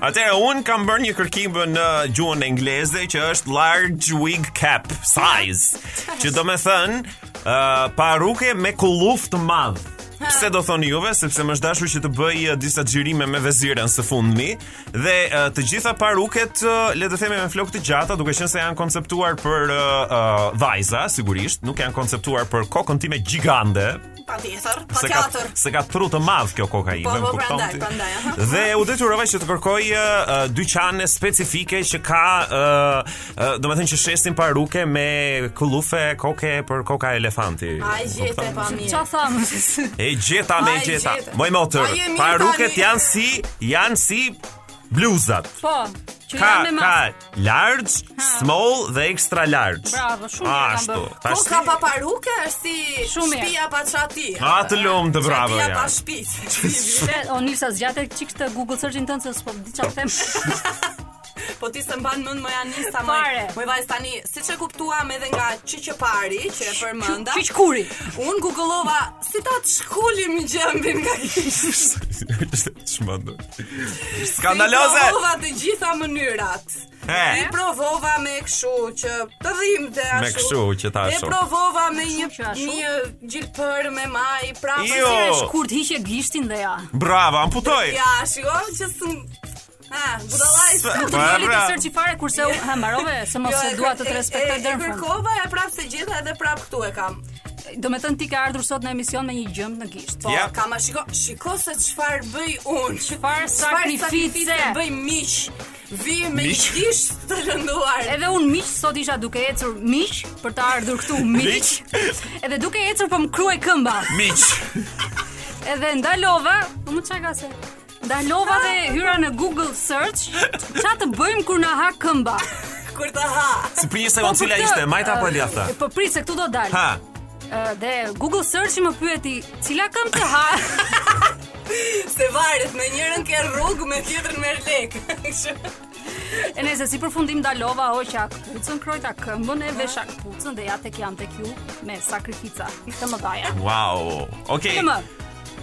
Speaker 11: Atëherë un kam bërë një kërkim në gjuhën angleze që është large wig cap size, që do të thënë uh, paruke me kulluft të madh. Pse do thoni juve, sepse më është dashur që të bëj uh, disa xhirime me vezirën së fundmi dhe uh, të gjitha paruket uh, le të themi me flokë të gjata, duke qenë se janë konceptuar për uh, uh, vajza, sigurisht, nuk janë konceptuar për kokën time gjigande,
Speaker 3: Patjetër,
Speaker 11: se ka
Speaker 3: patjetër.
Speaker 11: se ka tru të madh kjo kokaina,
Speaker 3: Po, po,
Speaker 11: më kupton
Speaker 3: prandaj,
Speaker 11: ti?
Speaker 3: prandaj, aha.
Speaker 11: Dhe u detyrova që të kërkoj uh, dyqane specifike që ka uh, uh, domethënë që shesin paruke me kullufe koke për koka elefanti.
Speaker 3: Ai gjete pa mirë.
Speaker 1: Ça thamë?
Speaker 11: E gjeta me
Speaker 3: Ai,
Speaker 11: gjeta.
Speaker 3: gjeta.
Speaker 11: Moj motor.
Speaker 3: Ai, e mirë,
Speaker 11: Paruket
Speaker 3: tani.
Speaker 11: janë si janë si bluzat.
Speaker 1: Po, që
Speaker 11: Ka
Speaker 1: jam me
Speaker 11: ka
Speaker 1: mas.
Speaker 11: large, small dhe extra large.
Speaker 1: Bravo, shumë mirë kam
Speaker 11: Ashtu.
Speaker 1: bërë.
Speaker 11: Tash
Speaker 3: Koka
Speaker 11: ti-
Speaker 3: pa paruke është si
Speaker 1: Shumë mirë.
Speaker 3: shtëpia pa çati.
Speaker 11: A, të lumë të bravo,
Speaker 3: Çatia
Speaker 11: ja.
Speaker 3: pa shtëpi.
Speaker 1: Se, o Nilsa zgjatet çik të Google search-in tënd se s'po di çfarë them.
Speaker 3: po ti se mban mend më janë nisa më.
Speaker 1: Fare.
Speaker 3: Më vajz tani, siç e kuptuam edhe nga Çiçëpari që e përmenda.
Speaker 1: Qiq kuri.
Speaker 3: Un googlova si ta të shkulim gjembin nga kishë.
Speaker 11: Shmëndur. Skandaloze!
Speaker 3: I provova të gjitha mënyrat.
Speaker 11: E.
Speaker 3: I provova me kështu që të dhimbte ashtu.
Speaker 11: Me kështu që ta
Speaker 3: E
Speaker 11: ashtu.
Speaker 3: provova me një
Speaker 1: që ashtu?
Speaker 3: një gjilpër me maj, prapë
Speaker 11: Jo.
Speaker 3: si e
Speaker 1: Shkurt hiqe gishtin dhe ja.
Speaker 11: Bravo, amputoj.
Speaker 3: Ja, shiko që s'm... Ha, budallaj.
Speaker 11: S-
Speaker 1: Nuk të
Speaker 11: Pa,
Speaker 1: doli të
Speaker 11: bravo.
Speaker 1: sërçi fare kurse u ha mbarove se mos e dua të të respektoj dërën.
Speaker 3: dërën. Jo, E
Speaker 1: fund.
Speaker 3: kërkova e prapë se gjitha edhe prapë këtu e kam.
Speaker 1: Do me thënë ti ke ardhur sot në emision me një gjëmë në gisht.
Speaker 3: Po,
Speaker 11: Ja.
Speaker 3: kam a shiko, shiko se çfarë bëj unë.
Speaker 1: Çfarë sakrifice.
Speaker 3: bëj miq. Vi me
Speaker 11: Miq?
Speaker 3: një dish të rënduar.
Speaker 1: Edhe unë miq sot isha duke ecur miq për të ardhur këtu miq. Edhe duke ecur po më kruaj këmba.
Speaker 11: Miq.
Speaker 1: Edhe ndalova, po më çka ka se. Ndalova dhe hyra në Google search, ç'a të bëjmë kur na ha këmba.
Speaker 3: Kur ta ha.
Speaker 11: Si për një
Speaker 1: Po,
Speaker 11: sekond
Speaker 1: për
Speaker 11: cila
Speaker 1: këtë,
Speaker 11: ishte, majta apo
Speaker 1: eh,
Speaker 11: e djathta?
Speaker 1: Po prit se këtu do dal.
Speaker 11: Ha.
Speaker 1: Eh, Dhe Google search më pyeti, cila këmbë të ha?
Speaker 3: Se varet, me njërën ke rrugë, me tjetrën merr lek. Kështu.
Speaker 1: E nëse si përfundim ndalova hoqa kputucën, krojta këmbën e vesha kputucën dhe ja tek jam tek ju me sakrifica të mëdha.
Speaker 11: Wow. Okej.
Speaker 1: Kemë.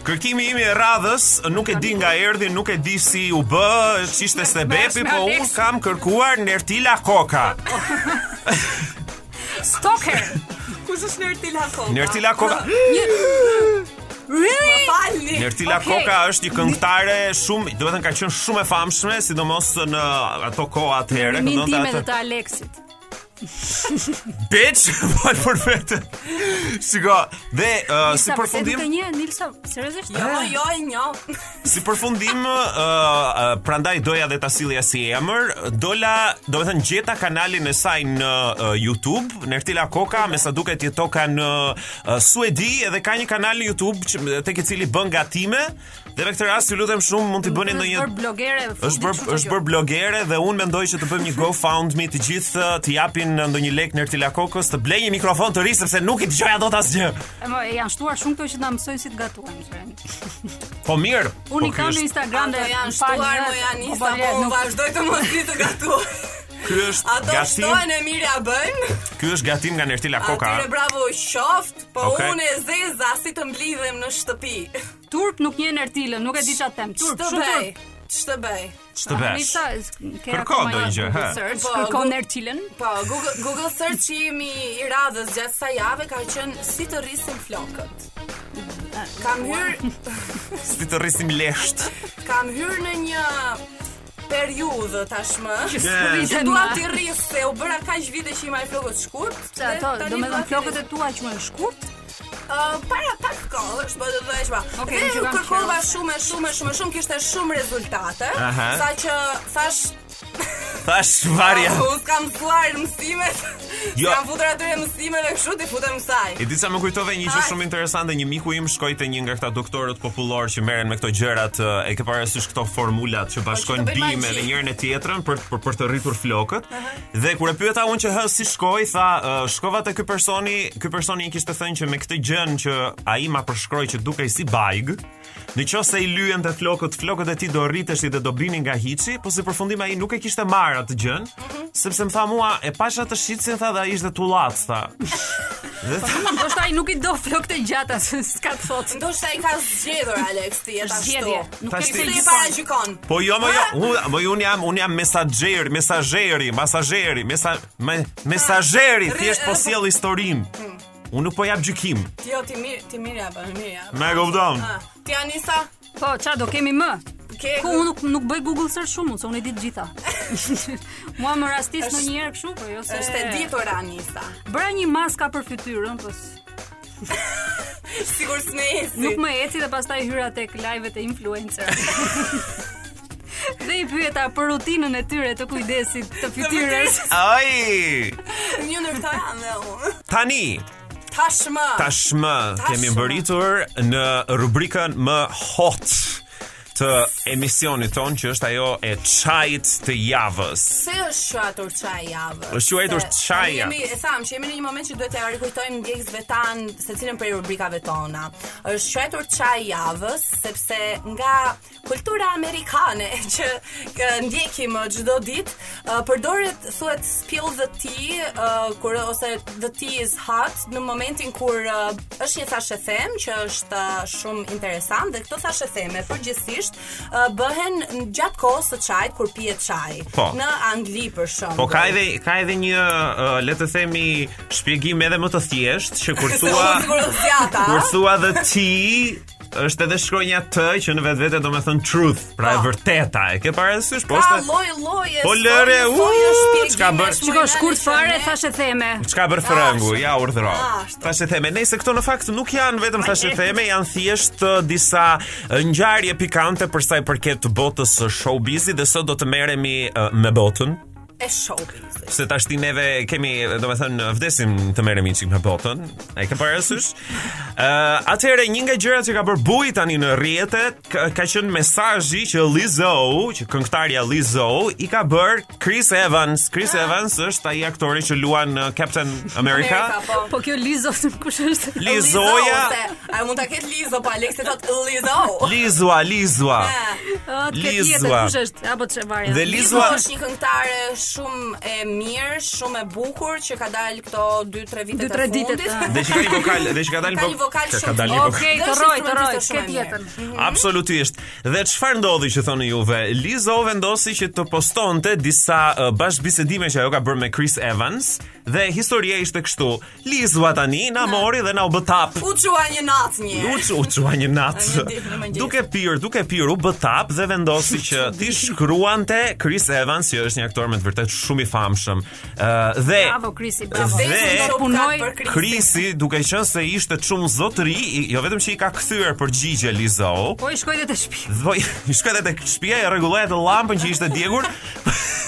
Speaker 11: Kërkimi im i radhës nuk e di nga erdhi, nuk e di si u bë, ç'ishte sebepi,
Speaker 1: me
Speaker 11: po
Speaker 1: Alex.
Speaker 11: un kam kërkuar Nertila Koka.
Speaker 1: Stalker.
Speaker 3: Kush është Nertila Koka?
Speaker 11: Nertila Koka,
Speaker 1: Really?
Speaker 3: Po, Falni.
Speaker 11: Nertila
Speaker 1: Okej.
Speaker 11: Koka është një këngëtare shumë, do të thënë ka qenë shumë e famshme, sidomos në ato kohë atëherë,
Speaker 1: Min
Speaker 11: këndonte
Speaker 1: time dhe
Speaker 11: atë
Speaker 1: të Aleksit.
Speaker 11: bitch, fal për vetë. Shiko, dhe uh, si
Speaker 1: Sa përse
Speaker 11: përfundim,
Speaker 1: të një, Nilsa, seriozisht?
Speaker 3: Jo, jo, e njo.
Speaker 11: si përfundim, uh, uh, prandaj doja dhe ta sillja si emër, dola, do të thënë gjeta kanalin e saj në uh, YouTube, Nertila Koka, me sa duket jetoka në uh, Suedi edhe ka një kanal në YouTube që, tek i cili bën gatime. Dhe me këtë rast ju lutem shumë mund t'i bëni ndonjë
Speaker 1: Për blogere.
Speaker 11: është bër është bër blogere dhe unë mendoj që të bëjmë një GoFundMe të gjithë të japin ndonjë lek në Ertila Kokës, të blej një mikrofon të ri sepse nuk i dëgjoja dot asgjë.
Speaker 1: Janë shtuar shumë këto që na mësojnë si të gatuajmë. qenë.
Speaker 11: Po mirë.
Speaker 1: Unë i
Speaker 11: po ky
Speaker 1: kam në
Speaker 11: është-
Speaker 1: Instagram dhe
Speaker 3: Ato janë
Speaker 1: më falni,
Speaker 3: shtuar,
Speaker 1: ha,
Speaker 3: më janë
Speaker 1: po,
Speaker 3: nisa,
Speaker 1: po,
Speaker 3: po
Speaker 1: le,
Speaker 3: unë
Speaker 1: nuk-
Speaker 3: vazhdoj të mos di të gatuar.
Speaker 11: Ky është
Speaker 3: Ato
Speaker 11: gatim.
Speaker 3: shtojnë e mirë ja bëjnë.
Speaker 11: Ky është gatim nga Ertila Koka.
Speaker 3: Atyre bravo qoft, po
Speaker 11: Okej.
Speaker 3: unë e zeza si të mblidhem në shtëpi.
Speaker 1: Turp nuk një ertilën, nuk e di çfarë them. Turp,
Speaker 3: Ç'të
Speaker 1: shumë
Speaker 3: bëj?
Speaker 1: turp.
Speaker 3: Ç'të bëj?
Speaker 11: Ç'të bësh?
Speaker 1: Nisa, ke
Speaker 11: Kërko
Speaker 1: akoma
Speaker 11: ndonjë gjë,
Speaker 1: Google
Speaker 11: ha.
Speaker 1: Search,
Speaker 3: Po,
Speaker 1: Kërkon
Speaker 3: Google-
Speaker 1: ertilën.
Speaker 3: Po, Google, Google search i mi i radhës gjatë sa jave ka qenë si të rrisin flokët. Kam hyr,
Speaker 11: Si të rrisim lesht.
Speaker 3: kam hyr në një periudhë tashmë.
Speaker 11: Yes.
Speaker 3: Që dua të rris se u bëra kaq vite që i maj flokët shkurt.
Speaker 1: Se ato, do me dhënë flokët e tua që më shkurt,
Speaker 3: Uh, para pak kohësh, po do të thësh pa.
Speaker 1: Okej,
Speaker 3: dhe
Speaker 1: që
Speaker 3: u
Speaker 1: kam
Speaker 3: kërkova
Speaker 1: qenë.
Speaker 3: shumë, shumë, shumë, shumë kishte shumë rezultate.
Speaker 11: Aha.
Speaker 3: Sa që thash
Speaker 11: Thash varja.
Speaker 3: "Ah, Unë kam mësuar mësimet.
Speaker 11: Jo.
Speaker 3: Jo. Kam futur atyre mësimeve kështu ti futem kësaj.
Speaker 11: E di sa më kujtove një gjë shumë interesante, një miku im shkoi te një nga këta doktorët popullor që merren me këto gjërat, eh, e ke parasysh këto formulat që bashkojnë
Speaker 3: Po, që të bëjnë
Speaker 11: bime
Speaker 3: magji.
Speaker 11: dhe njërin e tjetrën për për, për të rritur flokët. Dhe kur e pyeta unë që hë si shkoi, tha, "Eh, shkova te ky personi, ky personi i kishte thënë që me këtë gjën që ai ma përshkroi që dukej si bajg, Në qoftë se i lyhen të flokët, flokët e ti do rritesh dhe do binin nga hiçi, po si përfundim ai nuk e kishte marrë atë gjën,
Speaker 3: Mhm.
Speaker 11: sepse më tha mua, e pasha të shitsin tha dhe ai ishte tullac tha. Dhe tha,
Speaker 1: ndoshta ai nuk i do flokët e gjata, se s'ka të thotë.
Speaker 3: Ndoshta i ka zgjedhur Alex ti jetë ashtu.
Speaker 1: Zgjedhje, nuk
Speaker 11: Tash
Speaker 1: e
Speaker 11: ti-
Speaker 1: ke
Speaker 3: Se i
Speaker 1: gjë.
Speaker 3: para gjykon.
Speaker 11: Po jo, më jo, unë, më unë jam, unë jam mesazher, mesaxheri, mesaxheri, mesa, me, mesaxheri, thjesht po sjell historin. Unë nuk po jap gjykim.
Speaker 3: Jo ti mirë, ti mirë ja bën, mirë ja.
Speaker 11: Më e kupton.
Speaker 3: Ah, Ti Anisa,
Speaker 1: Po, qa do kemi më?
Speaker 3: ke
Speaker 1: Ku unë nuk, nuk bëj Google search shumë, unë, se unë i di të gjitha. Mua më rastis në një herë kështu, po jo se...
Speaker 3: është e ditur Anisa.
Speaker 1: Bëra një maska për fytyrën, po s-
Speaker 3: Sigur s'ne esi.
Speaker 1: nuk më eci dhe pastaj hyra tek live-et e influencer. dhe i pyeta për rutinën e tyre të kujdesit të fytyrës.
Speaker 11: Ai!
Speaker 3: Një ndërta jam dhe unë.
Speaker 11: Tani,
Speaker 3: Tashmë.
Speaker 11: tashmë kemi mbërritur në rubrikën më hot të emisionit ton që është ajo e çajit të javës.
Speaker 3: Se është shuatur çaj javë.
Speaker 11: Është quajtur
Speaker 3: Se-
Speaker 11: çaja.
Speaker 3: Jemi, e thamë që jemi në një moment që duhet të rikujtojmë ndjekësve tan secilën prej rubrikave tona. Është shuatur çaj javës sepse nga kultura amerikane që kë, ndjekim uh, ë, çdo ditë, ë, uh, përdoret thuhet spill the tea ë, kur ose the tea is hot në momentin kur ë, është një thashë them që është ë, shumë interesant dhe këto thashë theme përgjithsisht ë, bëhen në- gjatë kohës së çajit kur pihet çaj.
Speaker 11: Po.
Speaker 3: Në Angli për shembull.
Speaker 11: Po ka edhe ka edhe një uh, le të themi shpjegim edhe më të thjeshtë që kur
Speaker 3: Se
Speaker 11: thua
Speaker 3: unë sigurisht zjata,
Speaker 11: kur
Speaker 3: a?
Speaker 11: thua the T është edhe shkronja T që në vetvete do të thënë truth, pra e
Speaker 3: Po.
Speaker 11: vërteta. E ke parasysh? Po
Speaker 3: Ka
Speaker 11: është
Speaker 3: Ah, lloj lloje.
Speaker 11: Po,
Speaker 3: sojë,
Speaker 11: lëre,
Speaker 3: sojë,
Speaker 11: uu,
Speaker 3: shpjegimesh,
Speaker 11: çka bërë?
Speaker 3: mojnane
Speaker 1: Shiko, shkurt
Speaker 3: që
Speaker 1: fare,
Speaker 3: ne-
Speaker 1: thashë theme.
Speaker 11: Çka bër frëngu,
Speaker 3: ashtu.
Speaker 11: ja urdhëro.
Speaker 3: Ashtu.
Speaker 11: Tash e theme, nëse këto në fakt nuk janë vetëm tash e theme, janë thjesht uh, disa uh, ngjarje pikante për sa i përket botës së showbizit dhe sot do të merremi uh, me botën.
Speaker 3: e showbiz.
Speaker 11: Se tash ti neve kemi, do me thënë, vdesim të merrem një çik me botën. E ke parasysh? Ë, atëherë një nga gjërat që ka bërë buj tani në rrjete ka, ka qenë mesazhi që Lizzo, që këngëtarja Lizzo i ka bërë Chris Evans. Chris
Speaker 3: Ah.
Speaker 11: Evans është ai aktori që luan në Captain America.
Speaker 3: Amerika, po.
Speaker 1: Po kjo Lizo, kush është?
Speaker 11: Lizoja,
Speaker 3: ose, A mund ta ketë Lizo, po Aleksi thot Lizo.
Speaker 11: Lizua, Lizua.
Speaker 1: Ah, të ketë
Speaker 11: Lizua.
Speaker 1: jetën, Kush është? Apo çfarë varja?
Speaker 11: Dhe
Speaker 3: Lizo
Speaker 11: Lizua
Speaker 3: është një këngëtare shumë e mirë, shumë e bukur që ka dalë këto 2-3 vite të
Speaker 1: 2-3
Speaker 3: fundit.
Speaker 1: ditet, ah.
Speaker 11: Dhe që ka një vokal, dhe që ka dalë
Speaker 3: Ka një vokal
Speaker 11: që ka
Speaker 3: shumë-
Speaker 11: dalë një vokal.
Speaker 1: Okej,
Speaker 3: Dhe
Speaker 1: të
Speaker 3: është
Speaker 1: roj, të roj,
Speaker 3: instrumentiste
Speaker 1: të
Speaker 3: shumë e
Speaker 1: ketë
Speaker 3: mirë.
Speaker 1: jetën.
Speaker 11: Absolutisht. Dhe çfarë ndodhi që thoni juve? Lizo vendosi që të postonte disa uh, bashkëbisedime që ajo ka bërë me Chris Evans dhe historia ishte kështu. Lizua tani na mori dhe na u bë tap.
Speaker 3: U çua një natë një.
Speaker 11: U që u qua një natë
Speaker 3: Një ditë në mëngjes.
Speaker 11: Duke pirë, duke pirë, u bëtap dhe vendosi që ti shkruante Chris Evans, që është një aktor me të vërtet shumë i famshëm Ë, Dhe
Speaker 1: Bravo Krisi, bravo.
Speaker 11: Dhe-
Speaker 1: do punoj.
Speaker 11: Krisi, duke qenë se ishte shumë zotëri, i- jo vetëm që i ka kthyer përgjigje Lizo,
Speaker 1: Po i shkoj dhe të shtëpi.
Speaker 11: Po, i shkoj edhe tek shtëpia e rregulloj atë llampën që ishte djegur.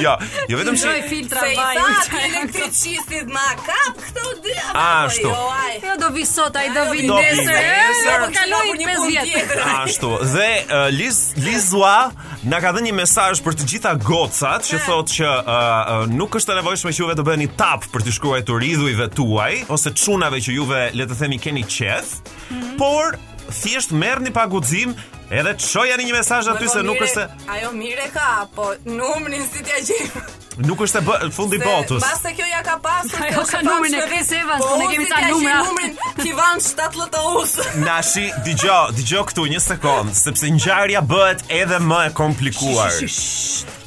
Speaker 11: jo, jo vetëm
Speaker 1: Ndroj
Speaker 11: që
Speaker 1: filtra
Speaker 3: Se i
Speaker 1: vaj.
Speaker 3: tha elektricistit na kap këto dy apo
Speaker 11: Ashtu.
Speaker 3: jo, aj.
Speaker 1: Jo do vi sot, ai do vi
Speaker 11: Do vi
Speaker 1: nesër.
Speaker 11: nesër.
Speaker 1: e, Do kaloj 5 vjet. Pra,
Speaker 11: Ashtu. Dhe uh, Liz Lizua na ka dhënë një mesazh për të gjitha gocat që thotë që uh, uh, nuk është e nevojshme që juve të bëheni tap për të shkruar të ridhujve tuaj ose çunave që juve le të themi keni qef,
Speaker 3: Mhm.
Speaker 11: por thjesht merrni pa guxim edhe çojani një mesazh aty se nuk është e-
Speaker 3: Ajo mire ka, po numrin si t'ja gjejmë.
Speaker 11: nuk është e bë- fundi i
Speaker 3: Se
Speaker 11: botës.
Speaker 3: Pas se kjo ja ka pasur.
Speaker 1: Ajo
Speaker 3: se është
Speaker 1: ka
Speaker 3: famshme
Speaker 1: numrin e
Speaker 3: vetë.
Speaker 1: Chris Evans,
Speaker 3: Po
Speaker 1: ku ne kemi ca numra.
Speaker 3: Po numrin Kivan 7 LTU-s.
Speaker 11: Nashi, dëgjoj, dëgjoj këtu një sekond, sepse ngjarja bëhet edhe më e komplikuar.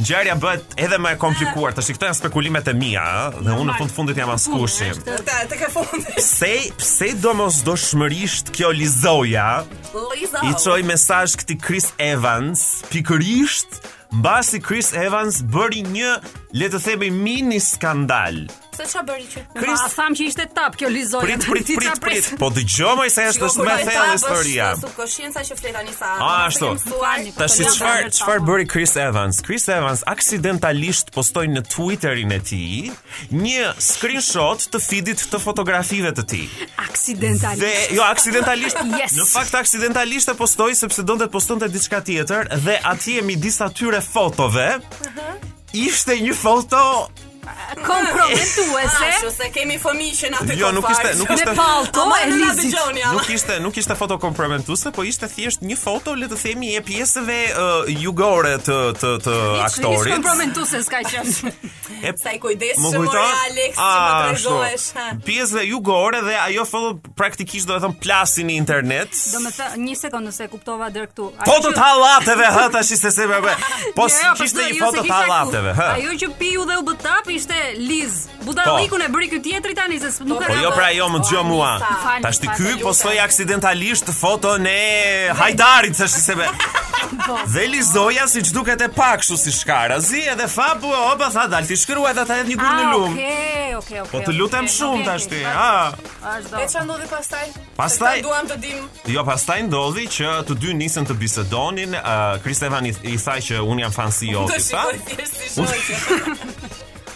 Speaker 11: Ngjarja bëhet edhe më e komplikuar. Tash këto janë spekulimet e mia, ëh, dhe unë në fund fundit jam askushim.
Speaker 3: Ta tek e fundit.
Speaker 11: Pse, pse domosdoshmërisht kjo Lizoja
Speaker 3: Liza.
Speaker 11: i çoi mesazh këtij Chris Evans pikërisht mbasi Chris Evans bëri një le të themi mini skandal.
Speaker 3: Se ç'a bëri që?
Speaker 1: Chris,
Speaker 11: Chris
Speaker 1: tham që ishte tap kjo Lizo.
Speaker 11: Prit, prit, prit, prit. Po dëgjoj më se
Speaker 3: Shiko,
Speaker 11: është
Speaker 3: kur
Speaker 11: më
Speaker 3: ai
Speaker 11: thellë
Speaker 3: ta
Speaker 11: historia.
Speaker 3: bësh Subkonscienca që flet tani sa.
Speaker 11: A, ashtu. Tash
Speaker 1: Po,
Speaker 11: çfar
Speaker 1: janë të
Speaker 11: çfarë
Speaker 1: tapa.
Speaker 11: bëri Chris Evans? Chris Evans aksidentalisht postoi në Twitterin e tij një screenshot të feedit të fotografive të tij.
Speaker 1: Aksidentalisht.
Speaker 11: Dhe jo aksidentalisht,
Speaker 1: Yes.
Speaker 11: në fakt aksidentalisht e postoi sepse donte të postonte diçka tjetër dhe atje midis atyre fotove ishte një foto Ah,
Speaker 1: komprometuese
Speaker 3: Ashtu se kemi fëmijë që na të
Speaker 11: Jo, nuk ishte- nuk ishte-
Speaker 1: me palto
Speaker 3: Ama
Speaker 1: e
Speaker 3: na
Speaker 1: Lizit.
Speaker 3: dëgjoni ama.
Speaker 11: Nuk ishte, nuk ishte foto komprometuese, po ishte thjesht një foto, le të themi, e pjesëve uh, jugore të të të
Speaker 1: Hiç
Speaker 11: aktorit.
Speaker 1: komprometuese s'ka qenë.
Speaker 11: E
Speaker 3: Sa i kujdesshëm
Speaker 11: Më kujto?
Speaker 3: ore, Alex, që më
Speaker 11: A,
Speaker 3: tregohesh,
Speaker 11: ashtu.
Speaker 3: ha.
Speaker 11: Pjesë jugore dhe ajo foto praktikisht do të thon plasin në internet.
Speaker 1: Do me thë, një sekundë nëse e kuptova deri këtu. Ajo
Speaker 11: Foto
Speaker 1: që-
Speaker 11: të hallateve, hë, tash ishte se me Po si
Speaker 1: Jo, jo,
Speaker 11: kishte
Speaker 1: po,
Speaker 11: një
Speaker 1: jo,
Speaker 11: foto
Speaker 1: se
Speaker 11: të
Speaker 1: kishte
Speaker 11: hallateve,
Speaker 1: ku.
Speaker 11: hë.
Speaker 1: Ajo që piu dhe u bë tap ishte Liz. Budallikun e bëri ky tjetri tani se s- nuk e
Speaker 11: Po jo pra jo, më dëgjoj mua.
Speaker 1: Falni,
Speaker 11: Tash ti
Speaker 1: falni,
Speaker 11: ky
Speaker 1: lutem.
Speaker 11: postoi aksidentalisht foton e Hajdarit, tash se me.
Speaker 1: Po.
Speaker 11: Dhe Lizoja si që duket e pak kështu si shkarazi edhe fabu e opa tha dal ti shkruaj dhe ta edhe një gur në
Speaker 1: Ah,
Speaker 11: lum
Speaker 1: Okej, okej, okej.
Speaker 11: Po të lutem
Speaker 1: okej,
Speaker 11: shumë
Speaker 1: okej,
Speaker 11: tash ti
Speaker 1: okej,
Speaker 11: ah.
Speaker 1: vazhdo.
Speaker 3: E ç'a ndodhi pastaj?
Speaker 11: Pastaj-
Speaker 3: Se ta duam të dim.
Speaker 11: Jo, pastaj ndodhi që të dy nisën të bisedonin. Uh, Chris Evan i, i tha që un jam fan si
Speaker 3: Të
Speaker 11: joti, tha.
Speaker 3: shikoj thjesht si shoqe.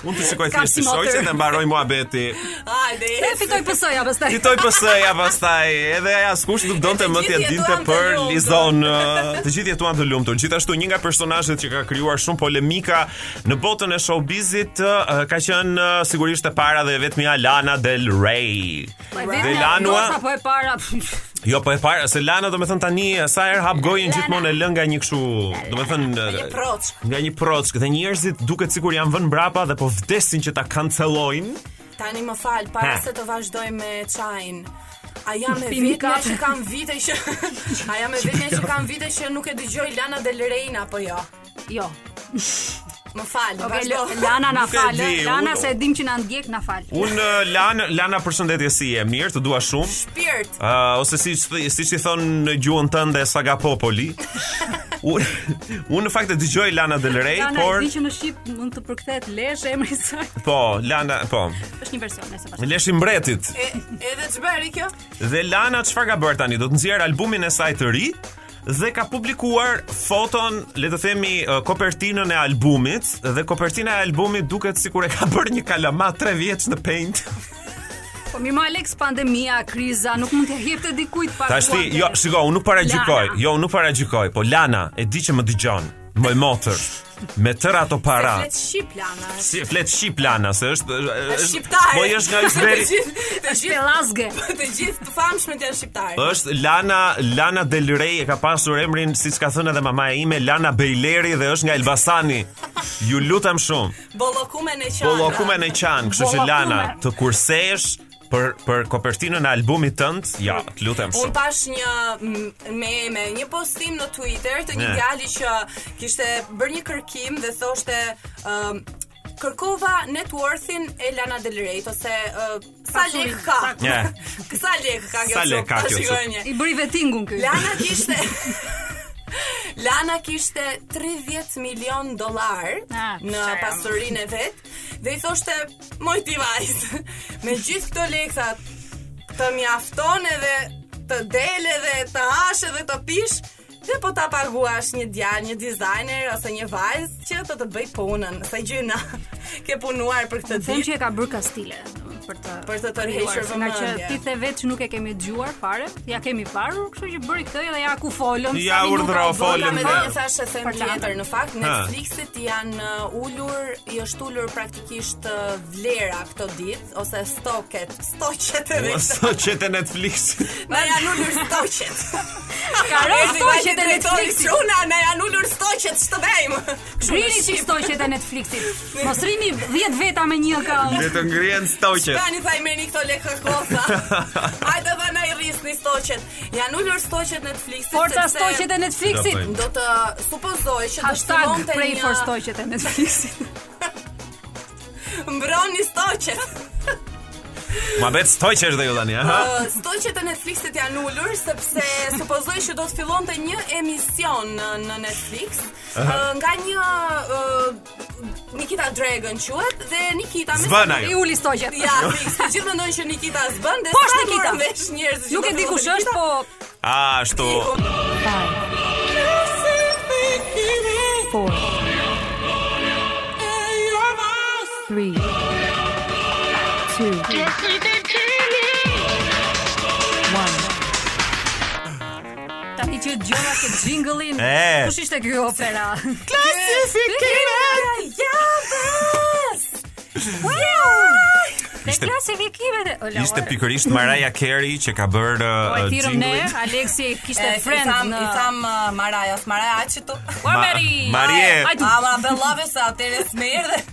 Speaker 11: Un të shikoj
Speaker 1: Kam
Speaker 11: thjesht si
Speaker 1: si motor."
Speaker 11: shoqe dhe mbaroi muhabeti.
Speaker 3: Hajde.
Speaker 1: E fitoj PS-ja pastaj.
Speaker 11: Fitoi PS-ja pastaj, edhe askush nuk donte
Speaker 3: Të
Speaker 11: më t'ia
Speaker 3: gjithë
Speaker 11: dinte
Speaker 3: jetuan të
Speaker 11: për
Speaker 3: lumtur.
Speaker 11: Lizon. ë, Të gjithë jetuan të lumtur. Gjithashtu një nga personazhet që ka krijuar shumë polemika në botën e showbizit ë, ka qenë ë, sigurisht e para dhe e vetmja Lana Del Rey.
Speaker 1: Po, e
Speaker 11: Dhe
Speaker 1: vetmja,
Speaker 11: Lanua
Speaker 1: ndoshta po e para.
Speaker 11: Jo, po e para, se Lana do me thënë tani, sa herë hap gojën gjithmonë e lën nga një këshu, do me thënë...
Speaker 3: një
Speaker 11: eh,
Speaker 3: proç.
Speaker 11: Nga një proç, dhe njerëzit duket sikur janë vënë mbrapa dhe po vdesin që ta kancelojnë.
Speaker 3: Tani më fal, para
Speaker 11: Ha.
Speaker 3: se të vazhdoj me çajin. A jam e
Speaker 1: Pini
Speaker 3: vetmja
Speaker 1: kafe.
Speaker 3: që kam vite që A jam e vetmja që kam vite që nuk e dëgjoj Lana Del Reyn apo jo?
Speaker 1: Jo.
Speaker 3: Më fal,
Speaker 1: Okej,
Speaker 3: vazhdo.
Speaker 1: L- Lana na
Speaker 11: Nuk e
Speaker 1: fal.
Speaker 11: di,
Speaker 1: Lana
Speaker 11: unë-
Speaker 1: se e dim që na ndjek na fal.
Speaker 11: Unë, eh, Lana, Lana përshëndetje si e mirë, të dua shumë.
Speaker 3: Shpirt.
Speaker 11: Uh, ose si si i thon në gjuhën tënde Saga Popoli. Unë unë në fakt e dëgjoj Lana Del Rey,
Speaker 1: Lana
Speaker 11: por
Speaker 1: e di që në shqip mund të përkthehet lesh emri i saj.
Speaker 11: po, Lana, po,
Speaker 1: Është një version nëse bashkë.
Speaker 11: Leshi mbretit.
Speaker 3: E, edhe ç'bëri kjo?
Speaker 11: Dhe Lana çfarë ka bërë tani? Do të nxjerr albumin e saj të ri dhe ka publikuar foton, le të themi, eh, kopertinën e albumit dhe kopertina e albumit duket sikur e ka bërë një kalama 3 vjeç në Paint.
Speaker 1: Po mirë, ma Alex, pandemia, kriza, nuk mund të jepte dikujt pa.
Speaker 11: Tashti, jo, shiko, unë nuk paragjykoj.
Speaker 1: Lana.
Speaker 11: Jo, unë nuk paragjykoj, po Lana e di që më dëgjon. Më motër. Me tërë ato para.
Speaker 3: Pra. Flet shqip Lana.
Speaker 11: Si flet shqip Lana, se është është
Speaker 3: Shqiptar.
Speaker 11: Po i është nga Ysberi.
Speaker 3: Të gjithë, të gjithë,
Speaker 1: Pelazge.
Speaker 3: të gjithë të famshmet janë shqiptarë.
Speaker 11: është Lana Lana Del Rey e ka pasur emrin siç ka thënë edhe mamaja ime Lana Bejleri dhe është nga Elbasani. Ju lutem shumë.
Speaker 3: Bollokume në qandra.
Speaker 11: Bollokume në qan, kështu që
Speaker 1: Bollokume.
Speaker 11: Lana të kursesh për për kopertinën e albumit tënd. Ja, të lutem
Speaker 3: Unë
Speaker 11: shumë.
Speaker 3: pash një mm, meme, një postim në Twitter të një
Speaker 11: Ne.
Speaker 3: djali që kishte bërë një kërkim dhe thoshte um, kërkova net worthin e Lana Del Rey ose uh, sa lek ka.
Speaker 11: Ne.
Speaker 3: Sa lek ka kjo?
Speaker 11: Sa
Speaker 3: sup?
Speaker 11: lek ka
Speaker 3: Ta
Speaker 11: kjo sup?
Speaker 3: shikojmë një.
Speaker 1: I bëri vetingun ky.
Speaker 3: Lana kishte Lana kishte 30 milion dollar
Speaker 1: Ah,
Speaker 3: në
Speaker 1: shajam.
Speaker 3: pasurinë e vet dhe i thoshte moj ti vajzë, me gjithë këto leksa të mjafton edhe të del edhe të hash edhe të pish dhe po ta paguash një djalë, një designer ose një vajzë që të të bëj punën. Sa gjyna ke punuar për këtë
Speaker 1: Them
Speaker 3: ditë.
Speaker 1: që e ka bërë kastile domethënë, për të
Speaker 3: Për të tërhequr
Speaker 1: se nga që
Speaker 3: vëmendje.
Speaker 1: ti the vetë që nuk e kemi dëgjuar fare, ja kemi parur, kështu që bëri këtë dhe ja ku folëm. sa
Speaker 11: Ja
Speaker 1: minuta
Speaker 11: urdhro,
Speaker 1: bëra.
Speaker 11: folëm,
Speaker 3: Me
Speaker 11: dhe-
Speaker 3: dhe një thashë them
Speaker 1: Për Lanën.
Speaker 3: tjetër, në fakt
Speaker 11: Ha.
Speaker 3: Netflixit janë uh, ulur, i është ulur praktikisht uh, vlera këto ditë ose stoket, stoqet edhe. këta.
Speaker 11: Sa që te Netflix.
Speaker 3: Na janë ulur stoqet.
Speaker 1: Ka rënë
Speaker 3: Erdhi vajti
Speaker 1: stoqet e
Speaker 3: drejtori
Speaker 1: Netflixit.
Speaker 3: Shuna, na janë ulur stoqet, ç'të bëjmë?
Speaker 1: Rini që stoqet e Netflixit. Mos rini 10 veta me një account.
Speaker 11: Le të ngrihen stoqet.
Speaker 3: Tani tha i merrni këto lekë kosa. Hajde va na i rrisni stoqet. Janë ulur stoqet Netflixit.
Speaker 1: Forca
Speaker 3: sepse
Speaker 1: stoqet e Netflixit.
Speaker 11: Do bëjmë.
Speaker 3: do të supozoj që do të
Speaker 1: Hashtag
Speaker 3: fillonte
Speaker 1: pray
Speaker 3: një-
Speaker 1: for stoqet e Netflixit.
Speaker 3: Mbroni stoqet.
Speaker 11: Ma bet stoqesh dhe ju tani, aha.
Speaker 3: Ë, Stoqet e Netflixit janë ulur sepse supozoj që do të fillonte një emision në, në Netflix ë, nga një ë, Nikita Dragon quhet dhe Nikita me
Speaker 11: Zbën ajo.
Speaker 1: I uli stoqet.
Speaker 3: Ja, fix, të gjithë mendojnë që Nikita s'bën dhe
Speaker 1: Po,
Speaker 3: s'ka
Speaker 1: është Nikita.
Speaker 3: marrë vesh njerëz. që
Speaker 1: Nuk
Speaker 3: do
Speaker 1: e
Speaker 3: të
Speaker 1: di kush
Speaker 3: fillonte
Speaker 1: është,
Speaker 3: Nikita.
Speaker 1: po
Speaker 11: Ashtu.
Speaker 1: tani që dëgjova këtë jingle-in.
Speaker 11: E.
Speaker 1: Kush ishte ky opera?
Speaker 3: Klasifikime Ja, bes
Speaker 1: Te klasifikimet. e- O, la,
Speaker 11: Ishte
Speaker 1: ore.
Speaker 11: pikërisht Mariah Carey që ka bërë
Speaker 1: Po
Speaker 11: uh,
Speaker 1: e thirrëm ne,
Speaker 11: jingle.
Speaker 1: Aleksi e kishte
Speaker 3: E,
Speaker 1: friend
Speaker 3: i tham,
Speaker 1: në
Speaker 3: i tham uh, Maraja, Maraja aqë tu
Speaker 1: Ua
Speaker 11: Ma-
Speaker 1: Meri.
Speaker 11: Marie.
Speaker 1: Ai tu,
Speaker 3: Ama bellave se atere s'merë dhe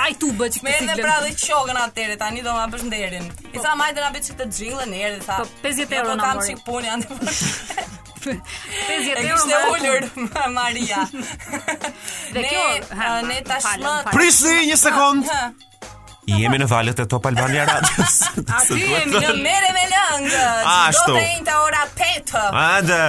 Speaker 1: ai tu bë çka
Speaker 3: Me edhe pra dhe qogën atere, tani do ma bësh nderin I tha majtë na bëj që të gjillë në erë tha
Speaker 1: Po, 50
Speaker 3: "Jo,
Speaker 1: euro
Speaker 3: po,
Speaker 1: na
Speaker 3: kam
Speaker 1: mori."
Speaker 3: qik punë janë
Speaker 1: 50
Speaker 3: E
Speaker 1: euro.
Speaker 3: kishte
Speaker 1: ma-
Speaker 3: ullur Maria
Speaker 1: Dhe
Speaker 3: Ne,
Speaker 1: kjo, ha,
Speaker 3: uh, ne
Speaker 1: ma,
Speaker 3: tashmë-
Speaker 1: falem, falem.
Speaker 11: Prisni një sekond.
Speaker 3: Hë,
Speaker 11: Jemi në valët e Top Albania Radios.
Speaker 1: Aty jemi
Speaker 3: Në mere me lëngë
Speaker 11: Ashtu.
Speaker 3: Do të ejnë të ora 5
Speaker 11: Ande.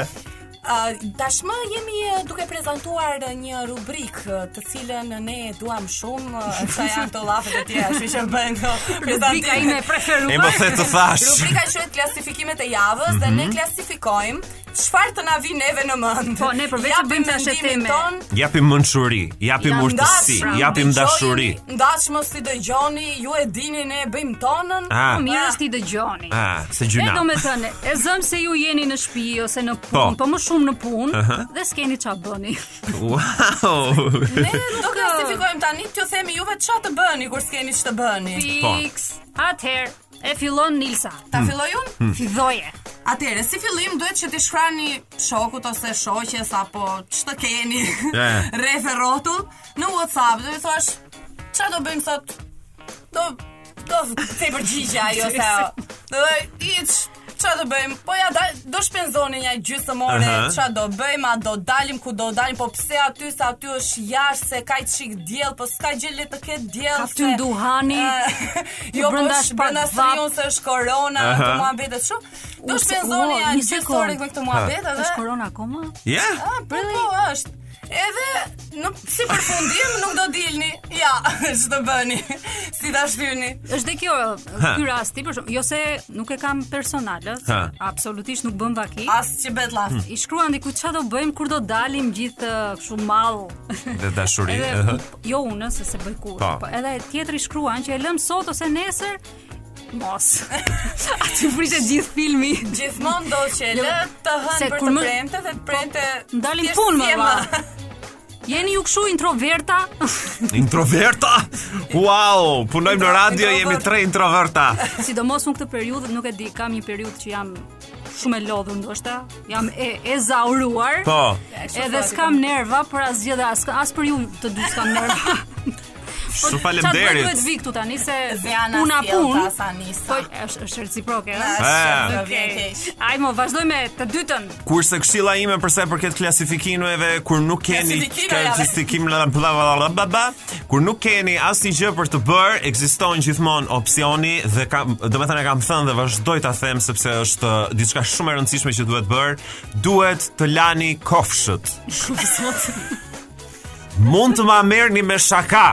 Speaker 3: Uh, tashmë jemi uh, duke prezantuar uh, një rubrik uh, të cilën ne duam shumë, uh, sa janë këto llafet e tjera, kështu që bëhen këto
Speaker 1: Rubrika ime
Speaker 3: prezantime.
Speaker 1: e preferuar.
Speaker 11: E më the të thash.
Speaker 3: Rubrika quhet klasifikimet e javës dhe
Speaker 1: Mhm.
Speaker 3: ne klasifikojmë çfarë të na vi neve në mend.
Speaker 1: Po, ne përveç të bëjmë tash e teme.
Speaker 3: Ton,
Speaker 11: Japim mençuri, japim
Speaker 1: Ja,
Speaker 11: urtësi,
Speaker 3: pra,
Speaker 1: ndashmë,
Speaker 11: japim dashuri.
Speaker 3: Ndashmë si dëgjoni, ju e dini ne e bëjmë tonën.
Speaker 11: Ah,
Speaker 1: Po mirë është i dëgjoni.
Speaker 11: ah, se
Speaker 1: E
Speaker 11: gjyna.
Speaker 1: do me thënë, e zëm se ju jeni në shtëpi ose në punë,
Speaker 11: Po.
Speaker 1: po, më shumë në punë dhe s'keni ç'a bëni.
Speaker 11: Wow.
Speaker 3: Ne do klasifikojmë tani, t'ju themi juve çfarë të bëni kur s'keni ç'të bëni.
Speaker 11: Po.
Speaker 1: Fix. Atëherë, E fillon Nilsa.
Speaker 3: Ta filloj
Speaker 11: Hmm.
Speaker 3: unë?
Speaker 1: Fidhoje.
Speaker 3: Atëre, si fillim duhet që t'i shkrani shokut ose shoqes apo ç'të keni.
Speaker 11: E.
Speaker 3: Rreth e rrotull në WhatsApp, do i thuash çfarë do bëjmë sot? Do do të përgjigje ajo se do iç çfarë do bëjmë? Po ja dal, do shpenzoni një gjysmë ore,
Speaker 11: Aha.
Speaker 3: çfarë do bëjmë? A do dalim ku do dalim? Po pse aty se aty është jashtë se ka çik diell, po s'ka gjë le të ketë diell.
Speaker 1: Ka
Speaker 3: se-
Speaker 1: fty nduhani.
Speaker 3: Eh, jo, po
Speaker 1: brenda
Speaker 3: është
Speaker 1: shpak
Speaker 3: brenda
Speaker 1: vap.
Speaker 3: serion se është korona, po
Speaker 11: Aha.
Speaker 3: këto muhabete kështu.
Speaker 1: U,
Speaker 3: Do
Speaker 1: se-
Speaker 3: shpenzoni
Speaker 1: ua,
Speaker 3: ja
Speaker 1: një
Speaker 3: gjithë
Speaker 1: sekond.
Speaker 3: orën me këto muhabet edhe.
Speaker 1: Është korona akoma?
Speaker 11: Ja?
Speaker 3: Ah, po po është. Edhe në si përfundim nuk do dilni. Ja, ç'do bëni? Si ta shtyni?
Speaker 1: Është dhe kjo ky rasti për shkak jo se nuk e kam personale, se
Speaker 11: Ha.
Speaker 1: absolutisht nuk bën vaki.
Speaker 3: As që bëhet llaft.
Speaker 1: I shkruan diku çfarë do bëjmë kur do dalim gjithë ë, kështu mall.
Speaker 11: Dhe dashuri.
Speaker 1: Edhe
Speaker 11: ëhë.
Speaker 1: jo unë se se bëj kur.
Speaker 11: Po.
Speaker 1: Po edhe tjetri shkruan që e lëm sot ose nesër mos. Aty prishet gjithë filmi.
Speaker 3: Gjithmonë do që e lë të hënë
Speaker 1: Jo, Se
Speaker 3: për
Speaker 1: kur
Speaker 3: të
Speaker 1: më- po, mm,
Speaker 3: premte dhe premte
Speaker 1: Ndalim
Speaker 3: thjesht
Speaker 1: punë më
Speaker 3: sjema.
Speaker 1: vonë. Jeni ju kshu introverta?
Speaker 11: Introverta? Wow, punojmë në radio,
Speaker 3: Introvert.
Speaker 11: jemi tre introverta.
Speaker 1: Sidomos unë këtë periudhë nuk e di, kam një periudhë që jam shumë e lodhur ndoshta, jam e, e zauruar.
Speaker 11: Po.
Speaker 1: Edhe s'kam nerva për asgjë dhe as, as për ju të dy s'kam nerva.
Speaker 11: Shumë
Speaker 1: Çfarë
Speaker 11: faleminderit.
Speaker 1: duhet vi këtu tani se
Speaker 3: Ziana
Speaker 1: puna pun.
Speaker 3: sjellta, sa nisa.
Speaker 1: Po është është reciproke,
Speaker 3: Na,
Speaker 1: ëh.
Speaker 3: sjellta,
Speaker 11: Ah.
Speaker 3: vjen keq.
Speaker 1: Ai mo vazhdoj me të dytën.
Speaker 11: Kurse këshilla ime për sa i përket klasifikimeve kur nuk keni
Speaker 3: Klasifikimeve.
Speaker 11: klasifikim la bla bla bla bla bla kur nuk keni asnjë gjë për të bërë, ekziston gjithmonë opsioni dhe kam domethënë e kam thënë dhe vazhdoj ta them sepse është uh, diçka shumë e rëndësishme që duhet bërë, duhet të lani kofshët. Mund të ma merrni me shaka.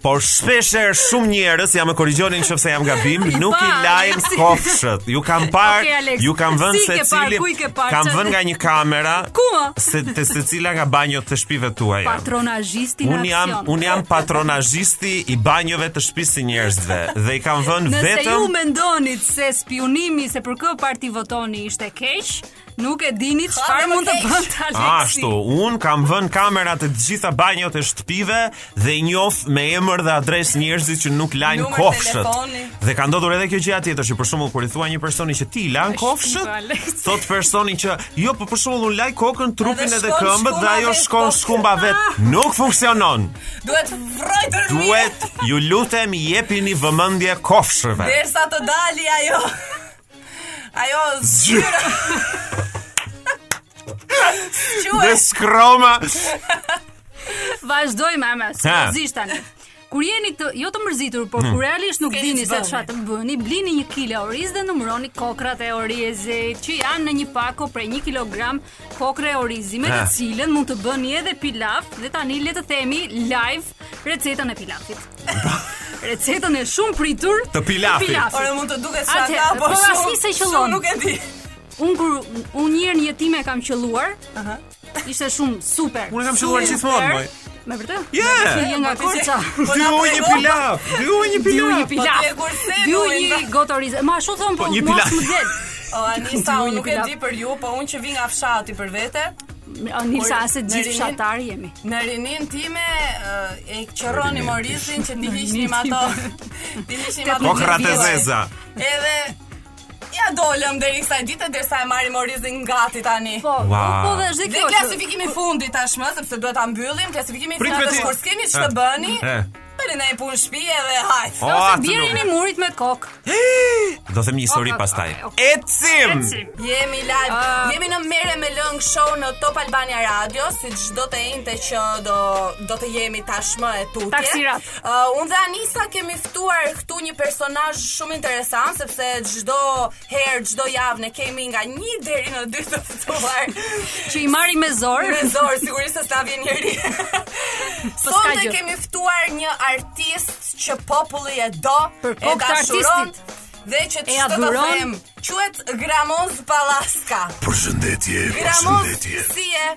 Speaker 11: Por shpesh herë shumë njerëz, ja më korrigjonin nëse jam gabim, nuk i
Speaker 1: parë,
Speaker 11: lajnë
Speaker 1: Aleksi.
Speaker 11: kofshët. Ju kam parë,
Speaker 1: Okej, Alex.
Speaker 11: ju kam vënë
Speaker 1: Si ke
Speaker 11: se
Speaker 1: parë, ku i ke
Speaker 11: cili
Speaker 1: parë,
Speaker 11: kam
Speaker 1: çfarë-
Speaker 11: vënë nga një kamera
Speaker 1: Ku mo?
Speaker 11: se te secila nga banjot të shtëpive tuaja.
Speaker 1: Patronazhisti në
Speaker 11: Un jam
Speaker 1: aksion.
Speaker 11: un jam patronazhisti i banjove të shtëpisë së njerëzve dhe i kam vënë
Speaker 1: Nëse ju
Speaker 11: vetëm
Speaker 1: mendonit se spionimi se për kë parti votoni ishte keq, nuk e dinit
Speaker 3: Ha,
Speaker 1: çfarë
Speaker 3: dhe më
Speaker 1: mund të
Speaker 3: keq.
Speaker 1: bënte Aleksi.
Speaker 11: Ashtu, un kam vënë kamera të gjitha banjot e shtëpive dhe i njoh me emër dhe adresë njerëzit që nuk lajnë
Speaker 3: Numër
Speaker 11: kofshët.
Speaker 3: telefoni.
Speaker 11: Dhe ka ndodhur edhe kjo gjë tjetër që për shembull kur i thua një personi që ti i lan kofshët,
Speaker 1: Alex.
Speaker 11: thot personi që jo, po për shembull un laj kokën, trupin
Speaker 3: Edhe
Speaker 11: edhe
Speaker 3: shkon
Speaker 11: këmbët dhe
Speaker 3: shkumba
Speaker 11: ajo
Speaker 3: vet
Speaker 11: shkon
Speaker 3: kofshët. Ah!
Speaker 11: shkumba vet. Nuk funksionon.
Speaker 3: Duhet vrojtër mirë.
Speaker 11: Duhet ju lutem jepini vëmendje kofshëve.
Speaker 3: Derisa të dali ajo. Ajo zyra.
Speaker 11: Dhe
Speaker 3: Quhet
Speaker 11: skroma
Speaker 1: Vazhdojmë ama, seriozisht tani. Kur jeni të jo të mërzitur, por
Speaker 11: Hmm.
Speaker 1: kur realisht nuk
Speaker 3: Keni
Speaker 1: dini se
Speaker 3: zbëni.
Speaker 1: çfarë të bëni, blini një kilo oriz dhe numëroni kokrat e orizit, që janë në një pako prej 1 kg kokre orizi, me të
Speaker 11: Ha.
Speaker 1: cilën mund të bëni edhe pilaf dhe tani le të themi live recetën e pilafit. recetën e shumë pritur
Speaker 11: Të pilafit.
Speaker 3: Ore mund të duket
Speaker 1: Atëherë,
Speaker 3: shaka, po
Speaker 1: po
Speaker 3: shumë.
Speaker 1: asnjë se qëllon.
Speaker 3: shumë Nuk e di.
Speaker 1: Unë kur unë një herë në jetim e kam qelluar. Aha. Ishte shumë super.
Speaker 11: Unë e kam qelluar
Speaker 1: super.
Speaker 11: gjithmonë, moj.
Speaker 1: Me vërtet?
Speaker 11: Je!
Speaker 1: Je nga Korça.
Speaker 3: Po
Speaker 11: Dy
Speaker 3: na
Speaker 11: ujë një
Speaker 3: prego.
Speaker 11: pilaf Dy ujë një
Speaker 1: Dyu një
Speaker 11: pilaf
Speaker 1: pilaf.
Speaker 3: Po ti e kurse
Speaker 1: Dyu
Speaker 3: duhen,
Speaker 1: një gotoriz. Ma ashtu thon po,
Speaker 11: Po, një
Speaker 1: mos
Speaker 11: pilaf.
Speaker 1: më del.
Speaker 3: O Anisa,
Speaker 1: Dy
Speaker 3: unë
Speaker 1: një
Speaker 3: nuk e
Speaker 1: pilaf.
Speaker 3: di për ju, po unë që vi nga fshati për vete,
Speaker 1: O, Nilsa,
Speaker 3: Por,
Speaker 1: se
Speaker 3: në
Speaker 1: gjithë
Speaker 3: rinim-
Speaker 1: fshatar jemi.
Speaker 3: në rinin time e e qërroni Morisin që ti hiqnim
Speaker 1: time.
Speaker 3: ato. Ti hiqnim ato.
Speaker 11: Kokrat e
Speaker 3: pipile.
Speaker 11: zeza
Speaker 3: Edhe ja dolëm deri kësaj dite derisa e marrim Morisin gati tani.
Speaker 1: Po,
Speaker 11: Wow.
Speaker 1: po, po dhe është
Speaker 3: Dhe
Speaker 1: dhe kjo. që-
Speaker 3: klasifikimi i fundit tashmë, sepse duhet ta mbyllim, klasifikimi i
Speaker 11: Prit
Speaker 3: fundit
Speaker 11: me ti.
Speaker 3: është kur s'keni
Speaker 11: Eh.
Speaker 3: ç'të bëni.
Speaker 11: Eh.
Speaker 3: Bëni ndaj punë shtëpi edhe hajt.
Speaker 11: O,
Speaker 1: Ose
Speaker 11: atë
Speaker 1: bjerë
Speaker 11: nuk-
Speaker 1: një murit me kokë.
Speaker 11: Do them një histori
Speaker 1: Ok, ok,
Speaker 11: pastaj
Speaker 1: ok.
Speaker 11: Ecim
Speaker 3: Jemi live.
Speaker 1: Ah.
Speaker 3: Jemi në Merre me Lëng show në Top Albania Radio, si çdo të njëjtë që do do të jemi tashmë e tutje.
Speaker 1: Taksirat.
Speaker 3: Uh, unë dhe Anisa kemi ftuar këtu një personazh shumë interesant sepse çdo herë, çdo javë ne kemi nga 1 deri në 2 të ftuar.
Speaker 1: Që i marri me zorë.
Speaker 3: Në zor, sigurisht se s'na vjen njëri. Sot
Speaker 1: Po s'ka
Speaker 3: ne
Speaker 1: gjë.
Speaker 3: kemi ftuar një artist që populli e do,
Speaker 1: Për
Speaker 3: e
Speaker 1: kokë të
Speaker 3: dashuron
Speaker 1: artistit.
Speaker 3: dhe që
Speaker 1: E
Speaker 3: ç'të të
Speaker 1: adhuron.
Speaker 3: them, quhet Gramoz Pallaska.
Speaker 10: Përshëndetje,
Speaker 3: Gramoz,
Speaker 10: përshëndetje.
Speaker 3: si e?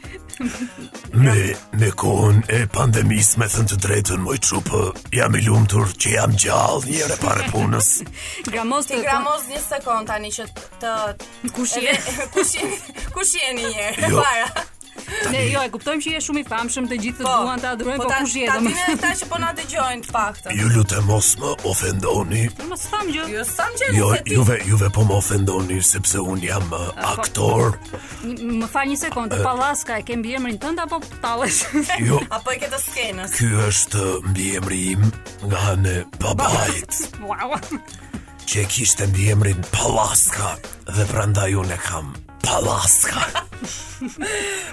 Speaker 10: Me, me kohën e pandemisë, me thënë të drejtën, moj qupë, jam i lumtur që jam gjallë njëre pare punës.
Speaker 1: Gramoz të po,
Speaker 3: Ti Gramoz një sekond tani që të
Speaker 1: kush je?
Speaker 3: Edhe- kush jeni? Kush jeni një herë
Speaker 10: Jo.
Speaker 3: para?
Speaker 1: Ne jo, e kuptojmë që je shumë i famshëm, të gjithë të duan ta adhurojnë, po,
Speaker 3: ta-
Speaker 1: kush je
Speaker 3: ta
Speaker 1: domo?
Speaker 3: dinë ata që po na dëgjojnë të paktën.
Speaker 10: Ju lutem mos më ofendoni.
Speaker 1: Mos tham gjë.
Speaker 3: Jo, sa më gjerë
Speaker 10: Jo,
Speaker 3: se ti.
Speaker 10: juve, juve po më ofendoni sepse un jam uh, aktor.
Speaker 1: Një- Më fal një sekondë, Pallaska e ke mbi emrin tënd apo Tallesh?
Speaker 10: Jo,
Speaker 3: Apo e ke të skenës.
Speaker 10: ky është uh, mbiemri im nga anë e babait,
Speaker 1: wow.
Speaker 10: që e kishte mbiemrin Pallaska dhe prandaj unë e kam Pallaska.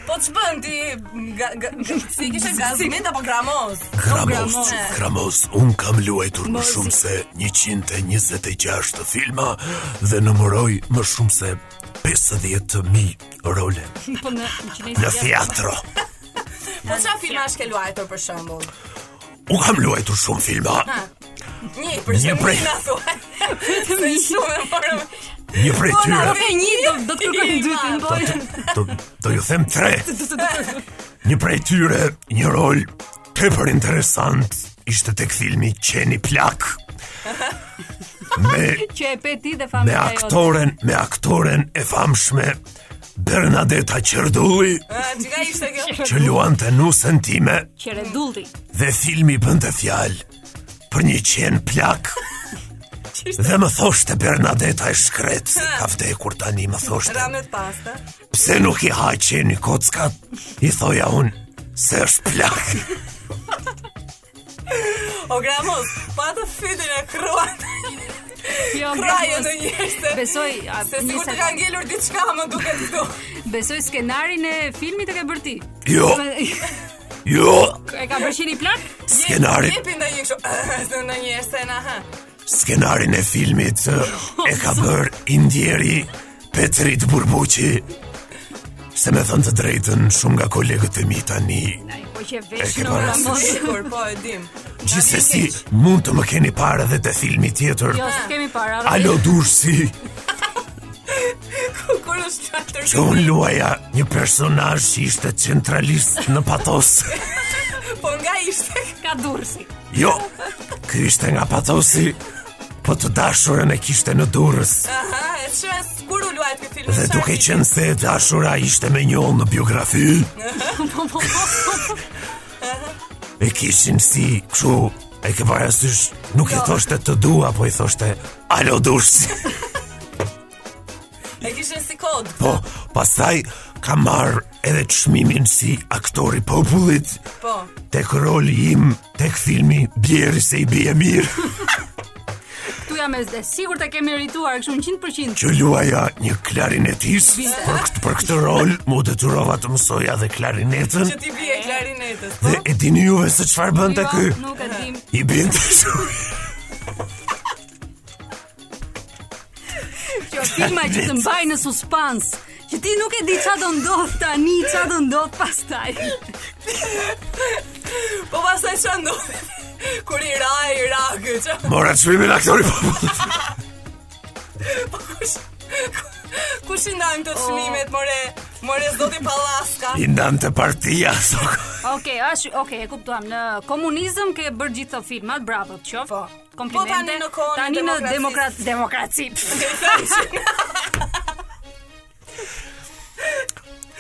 Speaker 3: Po të bën ti ga- ga- ga- si kishe gazmit apo gramoz?
Speaker 10: Kramos,
Speaker 3: Gramos. Po
Speaker 10: Kramos, un kam luajtur më shumë se 126 filma dhe numëroj më shumë se 50.000 role
Speaker 1: Po në në
Speaker 10: në
Speaker 1: Kinezi-
Speaker 10: teatro.
Speaker 3: Po çfarë filmash ke luajtur për shembull?
Speaker 10: U kam luajtur shumë filma,
Speaker 3: Një për
Speaker 10: Një
Speaker 3: shembull. Një
Speaker 10: prej-
Speaker 3: na thuaj. Se shumë e morëm.
Speaker 10: një prej
Speaker 3: Po na
Speaker 10: tyre.
Speaker 3: ve një do
Speaker 1: Do të kërkojmë dytin, po.
Speaker 10: Do, do ju them tre. Një prej tyre, një rol tepër interesant, ishte tek filmi Qeni Plak. Me,
Speaker 1: Që e pe ti dhe
Speaker 10: me
Speaker 1: familja jote.
Speaker 10: aktoren, me aktoren e famshme Bernadetta Qerdulli,
Speaker 3: Çka ishte kjo?
Speaker 10: që luante nusën time
Speaker 1: Qeredulli.
Speaker 10: dhe filmi bënte fjalë për një qen plak. Dhe më thoshte Bernadetta e shkret se ka vdekur tani më thoshte
Speaker 3: Ramet pasta.
Speaker 10: Pse nuk i ha qeni kockat? I thoja unë, se është plak.
Speaker 3: O gramoz, pa të fytyn e kruat.
Speaker 1: Jo,
Speaker 3: Krajë
Speaker 1: bravo.
Speaker 3: në njërë se...
Speaker 1: Besoj, a,
Speaker 3: Se
Speaker 1: një
Speaker 3: sigur të
Speaker 1: sek-
Speaker 3: ka ngellur diçka më duket këtu.
Speaker 1: besoj skenarin e filmit e ke bërë ti.
Speaker 10: Jo,
Speaker 1: E
Speaker 10: jo,
Speaker 1: ka bërë qeni plak?
Speaker 10: skenarin,
Speaker 3: Jepi ndonjë kështu në një scenë aha.
Speaker 10: skenarin e filmit ë, e ka bërë indjeri Petrit Burbuqi. Se me thënë të drejtën, shumë nga kolegët e mi tani,
Speaker 1: Ai, po që
Speaker 10: E
Speaker 1: vesh
Speaker 10: ke
Speaker 1: në
Speaker 10: parë
Speaker 1: Ramos.
Speaker 3: Pra, Sigur, po e dim.
Speaker 10: gjithsesi mund të më keni parë edhe te filmi tjetër.
Speaker 1: Jo, s'kemi para.
Speaker 10: Alo Dursi,
Speaker 3: Kur është çfarë?
Speaker 10: që unë luaja një personazh që ishte centralist në patos.
Speaker 3: Po nga ishte
Speaker 1: Ka dursi.
Speaker 10: Jo, ky ishte nga patosi, po të dashurën e kishte në durës.
Speaker 3: Aha, e çfarë kur u luajt ky film?
Speaker 10: Dhe
Speaker 3: Çfarë
Speaker 10: duke qenë se e dashura ishte me njohë në biografi, e kishin si kështu, e ke parasysh, nuk i thoshte të dua, po i thoshte alo dursi.
Speaker 3: E kishin si kod.
Speaker 10: Po, pastaj ka marrë edhe çmimin si aktori popullit.
Speaker 3: Po.
Speaker 10: Tek roli im, tek filmi Bjeri se i bie mirë,
Speaker 1: Tu jam e e sigurt e ke merituar kështu 100%.
Speaker 10: që luaja një klarinetist. Për këtë për këtë rol mu detyrova të mësoja edhe klarinetën.
Speaker 3: Që ti bie klarinetës.
Speaker 10: Dhe e dini juve se çfarë bënte
Speaker 1: Jo,
Speaker 10: ky?
Speaker 1: Nuk e dim.
Speaker 10: I bën të shumë.
Speaker 1: Që filma që të mbaj në suspans. Që ti nuk e di qa do ndodh tani, qa do ndodh pastaj.
Speaker 3: Po pastaj çfarë ndodhi? Kur i ra, i ra ky që
Speaker 10: Mora çmimin aktori po popullit.
Speaker 3: kush i ndajmë të çmimet, more, more zoti Pallaska.
Speaker 10: I ndante partia. thok.
Speaker 1: Okej, është, okej, e kuptuam. Në komunizëm ke bërë gjithë këto filmat, bravo, të qof.
Speaker 3: Po.
Speaker 1: Komplimente.
Speaker 3: Po tani në kohën e
Speaker 1: Tani në
Speaker 3: demokracisë.
Speaker 1: demokraci, demokraci.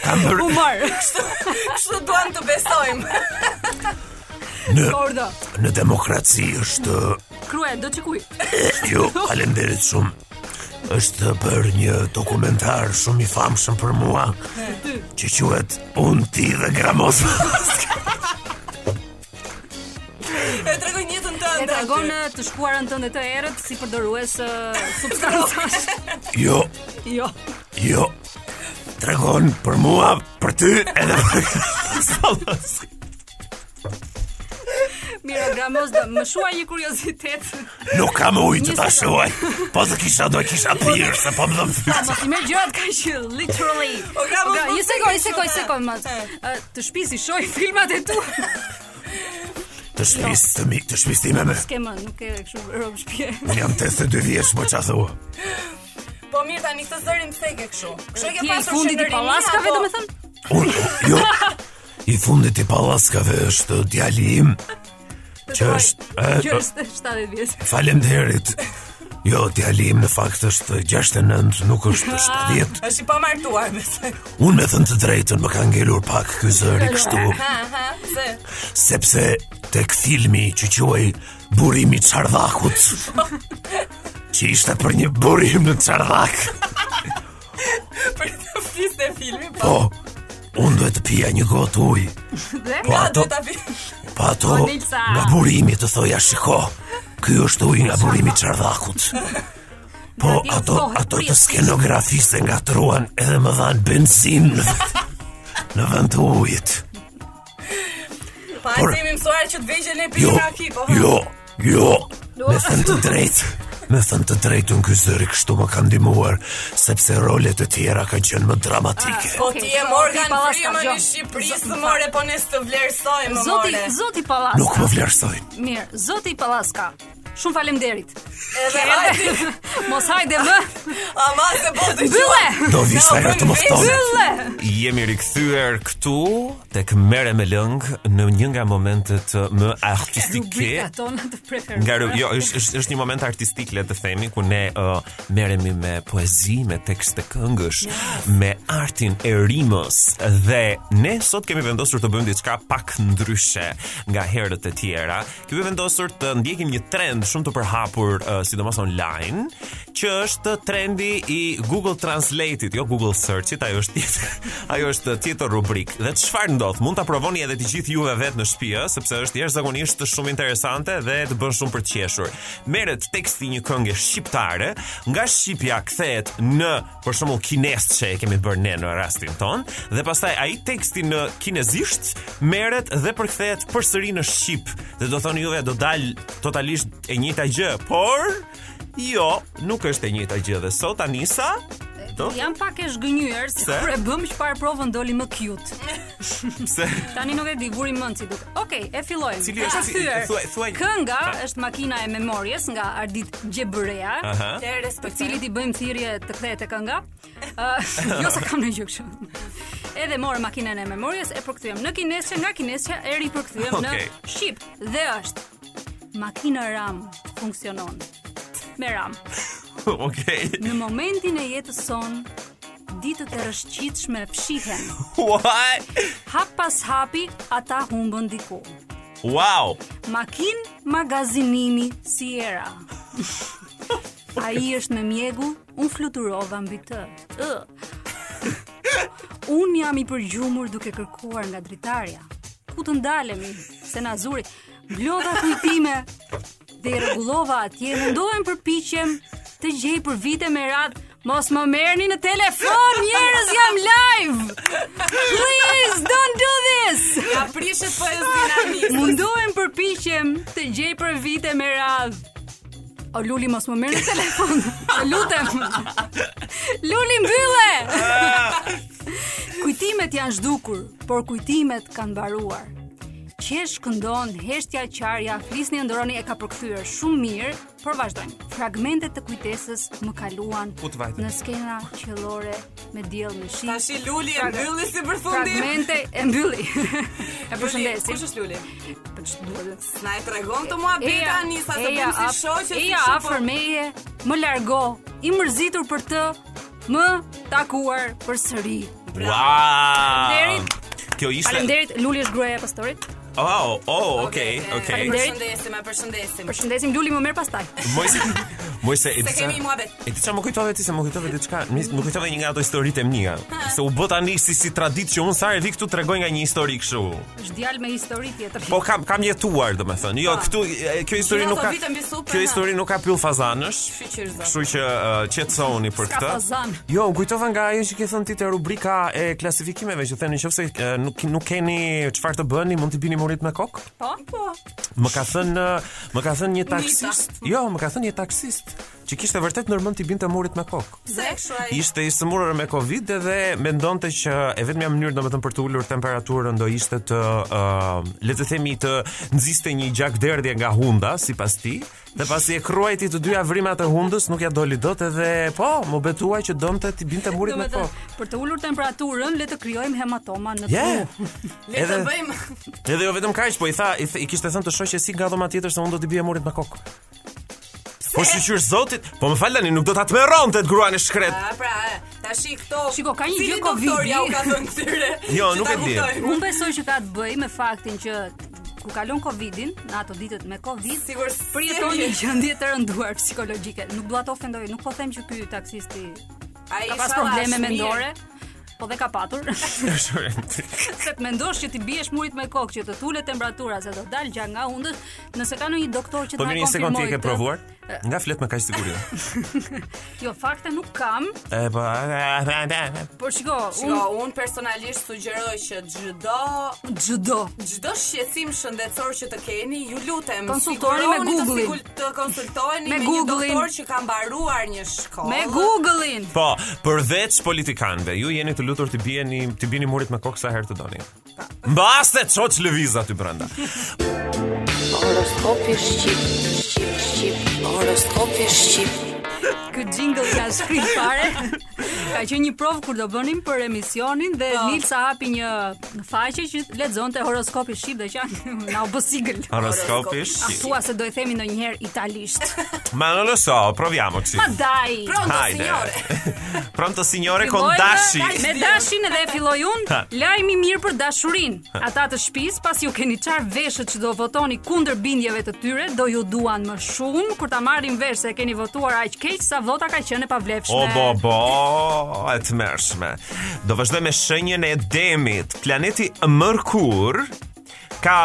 Speaker 10: Kam bërë
Speaker 1: Humor.
Speaker 3: Kështu duam të besojmë.
Speaker 10: në
Speaker 1: Kordo.
Speaker 10: në demokraci është
Speaker 1: Krye, do të kuj.
Speaker 10: jo, falenderit shumë. Është për një dokumentar shumë i famshëm për mua, që quhet Unë ti dhe Gramos.
Speaker 3: E tregoj një jetën
Speaker 1: E
Speaker 3: tënde.
Speaker 1: tregon e, të shkuarën tënde të erët si përdorues e, substancash.
Speaker 10: Jo,
Speaker 1: jo.
Speaker 10: jo. Tregon për mua, për ty edhe për
Speaker 1: Miro Gramos, do- më shuaj një kuriozitet.
Speaker 10: Nuk kam ujë të
Speaker 1: Një
Speaker 10: ta
Speaker 1: sekond.
Speaker 10: shuaj. Po të kisha do e kisha thirrë se po më dhëm fytyrë.
Speaker 1: Mos i merr gjërat kaq literally.
Speaker 3: O, Gramos,
Speaker 1: Okej,
Speaker 3: mos
Speaker 1: Një
Speaker 3: e
Speaker 1: sekond, një
Speaker 3: keq,
Speaker 1: sekond,
Speaker 3: o,
Speaker 1: një sekond mos.
Speaker 3: e.
Speaker 1: E, Të shpisi shoj filmat e tu.
Speaker 10: Të shpis të mi, të shpis time me.
Speaker 1: Ke më, nuk e kështu rob shtëpi.
Speaker 10: Unë jam 82 vjeç, po çfarë thua?
Speaker 3: Po mirë tani këtë zërin pse e ke kështu? Kështu e
Speaker 1: Ti
Speaker 3: ke
Speaker 1: je i
Speaker 3: pasur
Speaker 1: fundit i
Speaker 3: qeverini,
Speaker 1: pallaskave,
Speaker 3: apo-
Speaker 1: domethënë?
Speaker 10: Unë, jo, i fundit i pallaskave është djali im, që është, e,
Speaker 1: Që është 70 vjeç.
Speaker 10: falemderit, Jo, djalim në fakt është 69, nuk është 70.
Speaker 3: Është i pamartuar besoj.
Speaker 10: Unë me thënë të drejtën më ka ngelur pak ky zëri kështu,
Speaker 3: Ha ha, se.
Speaker 10: sepse tek filmi që quaj Burimi i Çardhakut. Që ishte për një burim në Çardhak.
Speaker 3: Për të flisë e filmi, po.
Speaker 10: Po, unë duhet të pija një gotë ujë. Po
Speaker 3: A
Speaker 10: ato,
Speaker 3: do ta vi.
Speaker 10: po ato nga burimi të thoja shiko. Ky është uji nga burimi i Çardhakut. Po ato ato të skenografiste nga truan edhe më dhan benzinë në vend- në vend të ujit.
Speaker 3: Pa
Speaker 10: Por-
Speaker 3: kemi mësuar që të vëgjën e
Speaker 10: Jo,
Speaker 3: pinë raki, po. ha?
Speaker 10: jo, jo, me thënë të drejtë. Me thënë të drejtë unë ky zëri kështu më ka ndihmuar sepse rolet e tjera ka qenë më dramatike.
Speaker 3: Po ti e Morgan
Speaker 1: Zoti Pallasta,
Speaker 3: Freeman
Speaker 1: gjo.
Speaker 3: i Shqipërisë more, po ne s'të vlerësojmë
Speaker 1: Zoti,
Speaker 3: more.
Speaker 1: zoti Pallaska.
Speaker 10: Nuk më vlerësojnë.
Speaker 1: Mirë, zoti Pallaska. Shumë faleminderit.
Speaker 3: Edhe hajde,
Speaker 1: Mos hajde më.
Speaker 3: ama se po të
Speaker 1: Bylle.
Speaker 10: Do vishta
Speaker 3: Na,
Speaker 10: ajo të më
Speaker 3: bëjmë
Speaker 10: ftonë.
Speaker 1: Bylle.
Speaker 11: Jemi rikthyer këtu tek Merre me lëng në një nga momentet më artistike.
Speaker 1: Rubrika tona të preferuar.
Speaker 11: Nga ru- jo, është është është një moment artistik le të themi ku ne uh, merremi me poezi, me tekste këngësh, me artin e rimës dhe ne sot kemi vendosur të bëjmë diçka pak ndryshe nga herët e tjera. Kemi vendosur të ndjekim një trend shumë të përhapur, uh, sidomos online, që është trendi i Google Translate-it, jo Google Search-it, ajo është tjetër, ajo është tjetër rubrik. Dhe çfarë ndodh? Mund ta provoni edhe të gjithë juve vetë në shtëpi, ë, sepse është jashtëzakonisht shumë interesante dhe të bën shumë për të qeshur. Merret teksti një këngë shqiptare, nga shqipja kthehet në për shembull kinesë që e kemi bërë ne në rastin ton, dhe pastaj ai teksti në kinezisht merret dhe përkthehet përsëri në shqip. Dhe do thoni juve do dal totalisht e njëjta gjë, por Jo, nuk është e njëjta gjë dhe sot Anisa Do?
Speaker 1: Jam pak e zhgënjur se
Speaker 11: Pse?
Speaker 1: kur e bëm çfarë provën doli më cute.
Speaker 11: Pse?
Speaker 1: Tani nuk e di, vuri mend si duket. Okej, e fillojmë.
Speaker 11: Cili
Speaker 1: E
Speaker 11: është-
Speaker 1: ka thyer.
Speaker 11: thuaj- thuaj-
Speaker 1: Kënga
Speaker 11: Ah.
Speaker 1: është makina e memorjes nga Ardit Gjebërea,
Speaker 11: Aha.
Speaker 3: E
Speaker 1: për
Speaker 3: respektoj.
Speaker 1: cilit i bëjmë thirrje të kthehet e kënga. Ë, jo sa kam në gjë kështu. Edhe morë makinën e memorjes e përkthyem në kinesë, nga kinesë e ripërkthyem
Speaker 11: Okej.
Speaker 1: në shqip dhe është makina RAM funksionon. Me RAM.
Speaker 11: Okej.
Speaker 1: Në momentin e jetës son, ditët e rëshqitshme fshihen.
Speaker 11: Why?
Speaker 1: Hap pas hapi, ata humbën diku.
Speaker 11: Wow.
Speaker 1: Makin magazinimi Sierra. A i është me mjegu, unë fluturova mbi të. Ë. Unë jam i përgjumur duke kërkuar nga dritarja. Ku të ndalemi, se na zuri. Blodha kujtime dhe i rregullova atje, mundohem përpiqem të gjej për vite me radhë Mos më merrni në telefon, njerëz jam live. Please don't do this.
Speaker 3: Ja prishet po poezina mi.
Speaker 1: Mundohem përpiqem të gjej për vite me radhë. O Luli mos më merr në telefon. O lutem. Luli mbylle. Kujtimet janë zhdukur, por kujtimet kanë mbaruar. Qesh këndon, heshtja qarja, flisni e ndroni e ka përkthyer shumë mirë, por vazhdojmë. Fragmentet të kujtesës më kaluan
Speaker 11: Ku të vajtën?
Speaker 1: në skena qellore me diell me shi.
Speaker 3: Tash i luli e mbylli si përfundim.
Speaker 1: Fragmente e mbylli. e
Speaker 3: Përshëndesim. Kush
Speaker 1: përshëndesim.
Speaker 3: është luli?
Speaker 1: Po ç'të duhet?
Speaker 3: Na e tregon të mua beta Anisa se
Speaker 1: eja
Speaker 3: bëm si
Speaker 1: af-
Speaker 3: shoqe si
Speaker 1: Eja
Speaker 3: shoqe, po-
Speaker 1: afër meje, më largo, i mërzitur për të, më takuar përsëri.
Speaker 11: Wow.
Speaker 1: Faleminderit.
Speaker 11: Kjo ishte.
Speaker 1: Faleminderit, Luli është gruaja e pastorit.
Speaker 11: Oh, oh, okay,
Speaker 3: po- E
Speaker 11: okay.
Speaker 1: Faleminderit.
Speaker 3: përshëndesim, e përshëndesim.
Speaker 1: Përshëndesim Luli më merr pastaj.
Speaker 11: Mojse Mojse e
Speaker 3: Se
Speaker 11: dica.
Speaker 3: kemi i muhabet.
Speaker 11: E dica më kujtove ti se më kujtove diçka, më më kujtove një nga ato historitë e mia. Se u bë tani si si traditë që unë sa e vi këtu tregoj nga një histori kështu.
Speaker 1: Është djalë me histori tjetër.
Speaker 11: Po kam kam jetuar domethënë. Jo, këtu e, kjo histori
Speaker 3: Gjithë
Speaker 11: nuk
Speaker 3: ato
Speaker 11: ka.
Speaker 3: vite mbi supë,
Speaker 11: Kjo
Speaker 3: ha.
Speaker 11: histori nuk ka pyll fazanësh.
Speaker 3: Shqyqyr, zot.
Speaker 11: Kështu që uh, qetësohuni për
Speaker 1: S'ka
Speaker 11: këtë.
Speaker 1: fazan.
Speaker 11: Jo, u kujtova nga ajo që ke thënë ti te rubrika e klasifikimeve që thënë nëse uh, nuk nuk keni çfarë të bëni, mund t'i bini murit me kokë.
Speaker 1: Po, po.
Speaker 11: Më ka thënë uh, më ka thënë një taksist. Jo, më ka thënë një taksist që kishte vërtet nërmend t'i binte murit me kokë.
Speaker 3: Se kështu ai.
Speaker 11: Ishte i sëmurur me Covid edhe mendonte që e vetmja mënyrë domethënë për të ulur temperaturën do ishte të uh, le të themi të nxiste një gjak derdhje nga hunda sipas tij. Dhe pasi e kruajti të dyja vrimat e hundës, nuk ja doli dot edhe po, më betuaj që donte ti binte murit me
Speaker 1: Domethënë,
Speaker 11: kokë.
Speaker 1: për të ulur temperaturën, le të krijojmë hematoma në
Speaker 11: Yeah.
Speaker 1: tru.
Speaker 3: Le të
Speaker 11: Edhe
Speaker 3: bëjmë.
Speaker 11: edhe jo vetëm kaq, po i tha i, th, i kishte thënë të shoqe si nga dhoma tjetër se unë do t'i bija murit me kokë. Po shqyr zotit, po më fal tani nuk do ta tmerronte të gruan e shkret.
Speaker 3: A pra, e, tash i këto.
Speaker 1: Shiko, ka një
Speaker 3: cili
Speaker 1: gjë
Speaker 3: doktor
Speaker 1: Covidi.
Speaker 3: Ja u ka thënë këtyre.
Speaker 11: Jo,
Speaker 3: që
Speaker 11: nuk
Speaker 3: ta
Speaker 11: e di.
Speaker 3: kuptojmë.
Speaker 1: Unë besoj që ka të bëj me faktin që ku kalon Covidin, në ato ditët me Covid,
Speaker 3: Sigur
Speaker 1: përjeton një gjendje të rënduar psikologjike. Nuk dua të ofendoj, nuk po them që ky taksisti
Speaker 3: Ai
Speaker 1: ka pas probleme mendore, po dhe ka patur. se të mendosh që ti biesh murit me kokë, që të tulet temperatura, se do dal gjatë nga hundës, nëse ka ndonjë doktor që
Speaker 11: Po
Speaker 1: të na
Speaker 11: mirë,
Speaker 1: konfirmojë.
Speaker 11: një sekond ti e ke
Speaker 1: këtë-
Speaker 11: provuar? Nga flet me kaq siguri.
Speaker 1: Jo, fakte nuk kam,
Speaker 11: E po.
Speaker 1: por shiko,
Speaker 3: Shiko,
Speaker 1: unë
Speaker 3: unë personalisht sugjeroj që çdo
Speaker 1: judo.
Speaker 3: çdo shqetësim shëndetësor që të keni, ju lutem
Speaker 1: Konsultoheni me
Speaker 3: siguroni të
Speaker 1: Google-in.
Speaker 3: sigul- Të konsultoheni
Speaker 1: Me
Speaker 3: me, një
Speaker 1: Google-in.
Speaker 3: doktor që ka mbaruar një shkollë.
Speaker 1: Me Google-in.
Speaker 11: Po, përveç politikanëve, ju jeni të lutur të bijeni, të bini murit me kokë sa herë të doni. Mbaste çoç lëviz aty brenda.
Speaker 12: Horoskopi Shqip Shqip Shqip Horoskopi Shqip
Speaker 1: Ky jingle ka shkrit fare. Ka qenë një provë kur do bënim për emisionin dhe Nilsa hapi një faqe që lexonte horoskopin shqip dhe që na u bë sigël.
Speaker 11: Horoskopi shqip.
Speaker 1: Thua se do i themi ndonjëherë italisht.
Speaker 11: Ma non lo so, proviamoci.
Speaker 1: Ma dai.
Speaker 3: Pronto,
Speaker 11: Hajde.
Speaker 3: signore.
Speaker 11: Pronto signore con
Speaker 1: Fillojmë
Speaker 11: dashi.
Speaker 1: Me dashin edhe e filloi unë.
Speaker 11: Ha.
Speaker 1: Lajmi mirë për dashurinë. Ata të shtëpisë, pas ju keni çar veshët që do votoni kundër bindjeve të tyre, do ju duan më shumë kur ta marrin vesh se e keni votuar aq keq sa vota ka qenë e pavlefshme.
Speaker 11: O bo bo, e të mërshme. Do vazhdoj me shenjën e demit. Planeti Mërkur ka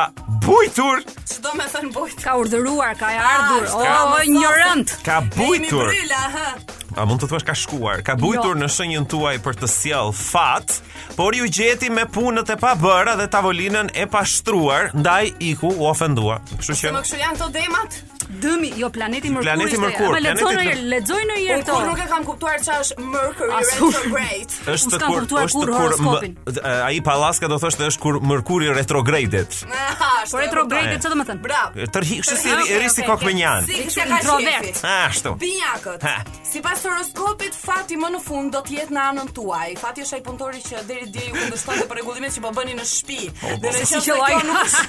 Speaker 11: bujtur,
Speaker 3: Çdo me thënë bujt.
Speaker 1: Ka urdhëruar, ka e ardhur.
Speaker 3: Ah,
Speaker 1: O,
Speaker 11: s'ka.
Speaker 1: o ignorant.
Speaker 11: ka
Speaker 3: Jemi
Speaker 11: bujtur.
Speaker 3: bryla, hë.
Speaker 11: A mund të thuash ka shkuar? Ka
Speaker 3: Jo.
Speaker 11: bujtur në shenjën tuaj për të sjell fat, por ju gjeti me punët e pabëra dhe tavolinën e pashtruar, ndaj iku u ofendua. Kështu
Speaker 3: Se
Speaker 11: që
Speaker 3: më kështu janë këto demat.
Speaker 1: Dëmi, jo planeti Mërkur.
Speaker 11: Planeti
Speaker 1: ishte.
Speaker 11: Mërkur,
Speaker 1: Ama lexoj
Speaker 11: planeti-
Speaker 1: ndonjëherë, lexoj ndonjëherë
Speaker 3: Unë
Speaker 1: to.
Speaker 3: kur nuk e kam kuptuar çfarë është Mercury
Speaker 1: As unë.
Speaker 3: retrograde.
Speaker 1: s'kam kuptuar kur horoskopin.
Speaker 11: ai pallaska do thoshte është kur Mërkuri retrogradet.
Speaker 3: Ah, ashtu
Speaker 1: Po
Speaker 3: e
Speaker 1: retrograde
Speaker 11: E.
Speaker 1: çfarë do të thënë?
Speaker 3: Bravo.
Speaker 11: Tërhi, kështu si
Speaker 3: Tërhi,
Speaker 11: ri-
Speaker 3: okay,
Speaker 11: risi
Speaker 3: okay,
Speaker 11: kokmenjan.
Speaker 3: Si
Speaker 1: Dhe
Speaker 3: si
Speaker 1: kështu
Speaker 3: ka
Speaker 1: introvert.
Speaker 3: qefi.
Speaker 11: Ah, ashtu.
Speaker 3: Binjakët.
Speaker 11: Ha.
Speaker 3: Sipas horoskopit, fati më në fund do të jetë në anën tuaj. Fati është ai punëtori që deri dje ju kundërshtonte për rregullimet që po bëni në shtëpi.
Speaker 11: po,
Speaker 3: Dhe në
Speaker 1: si
Speaker 3: qoftë
Speaker 1: që
Speaker 3: se kjo
Speaker 1: lloj.
Speaker 3: nuk është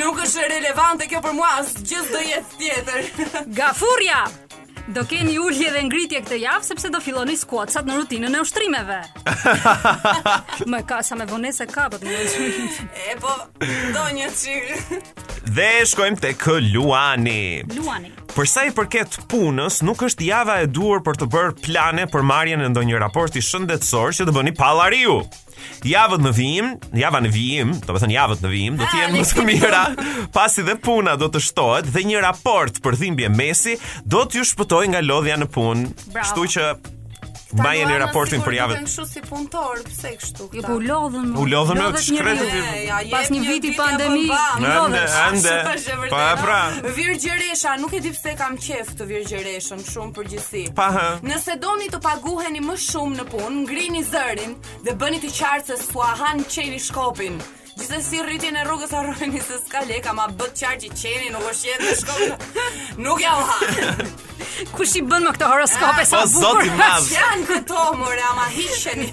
Speaker 3: nuk është relevante kjo për mua, asgjë do jetë tjetër.
Speaker 1: Gafurja. Do keni ulje dhe ngritje këtë javë sepse do filloni skuacat në rutinën e ushtrimeve. më ka sa me vonesë kapët, më vonesë.
Speaker 3: E po, do një çik.
Speaker 11: Dhe shkojmë tek Luani.
Speaker 1: Luani.
Speaker 11: Për sa i përket punës, nuk është java e duhur për të bërë plane për marrjen e ndonjë raporti shëndetësor që të bëni pallariu. Javët në vijim, java në vijim, do të thënë javët në vijim, do të jenë më të mira, pasi dhe puna do të shtohet dhe një raport për dhimbje mesi do t'ju shpëtoj nga lodhja në punë.
Speaker 1: Bravo.
Speaker 11: Kështu që mbajeni raportin për javën.
Speaker 3: Kështu si punëtor, pse kështu?
Speaker 1: Jo
Speaker 3: këta?
Speaker 1: ku u lodhën.
Speaker 11: U lodhën me
Speaker 1: lodhet njeriu.
Speaker 11: shkretë.
Speaker 3: E, ja, jep
Speaker 1: Pas një viti
Speaker 3: ditë,
Speaker 1: pandemi,
Speaker 3: ja, po, bam,
Speaker 1: Ande,
Speaker 3: lodhesh.
Speaker 11: ande.
Speaker 3: Është e vërtetë.
Speaker 11: Pa, pra.
Speaker 3: Virgjëresha, nuk e di pse kam qef të virgjëreshën shumë përgjithësi.
Speaker 11: Pa, ha.
Speaker 3: Nëse doni të paguheni më shumë në punë, ngrini zërin dhe bëni të qartë se suahan qeni Shkopin. Gjithsesi rritjen e rrugës harroni se s'ka leka, ma bët qartë që qeni nuk është jetë në Shkopin. Nuk ja u ha.
Speaker 1: Kush i bën me këto horoskope sa
Speaker 11: Po, zoti madh.
Speaker 3: Janë këto more, ama hiqeni.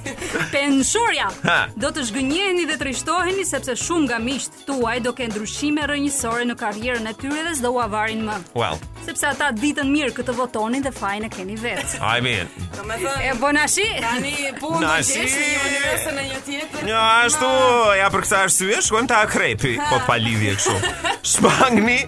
Speaker 1: Penshorja.
Speaker 11: Ha.
Speaker 1: Do të zgënjeheni dhe trishtoheni sepse shumë nga miqtë tuaj do kenë ndryshime rrënjësore në karrierën e tyre dhe s'do u avarin më.
Speaker 11: Well,
Speaker 1: sepse ata ditën mirë këtë votonin dhe fajin e keni vetë.
Speaker 11: I mean,
Speaker 1: E
Speaker 3: Domethënë,
Speaker 1: bonashi?
Speaker 3: tani punë do
Speaker 11: Nashi.
Speaker 3: gjesh në një universe në një tjetër.
Speaker 11: Ja, ashtu, ja për këtë arsye shkojmë te akrepi, po të pa lidhje kështu. Shmangni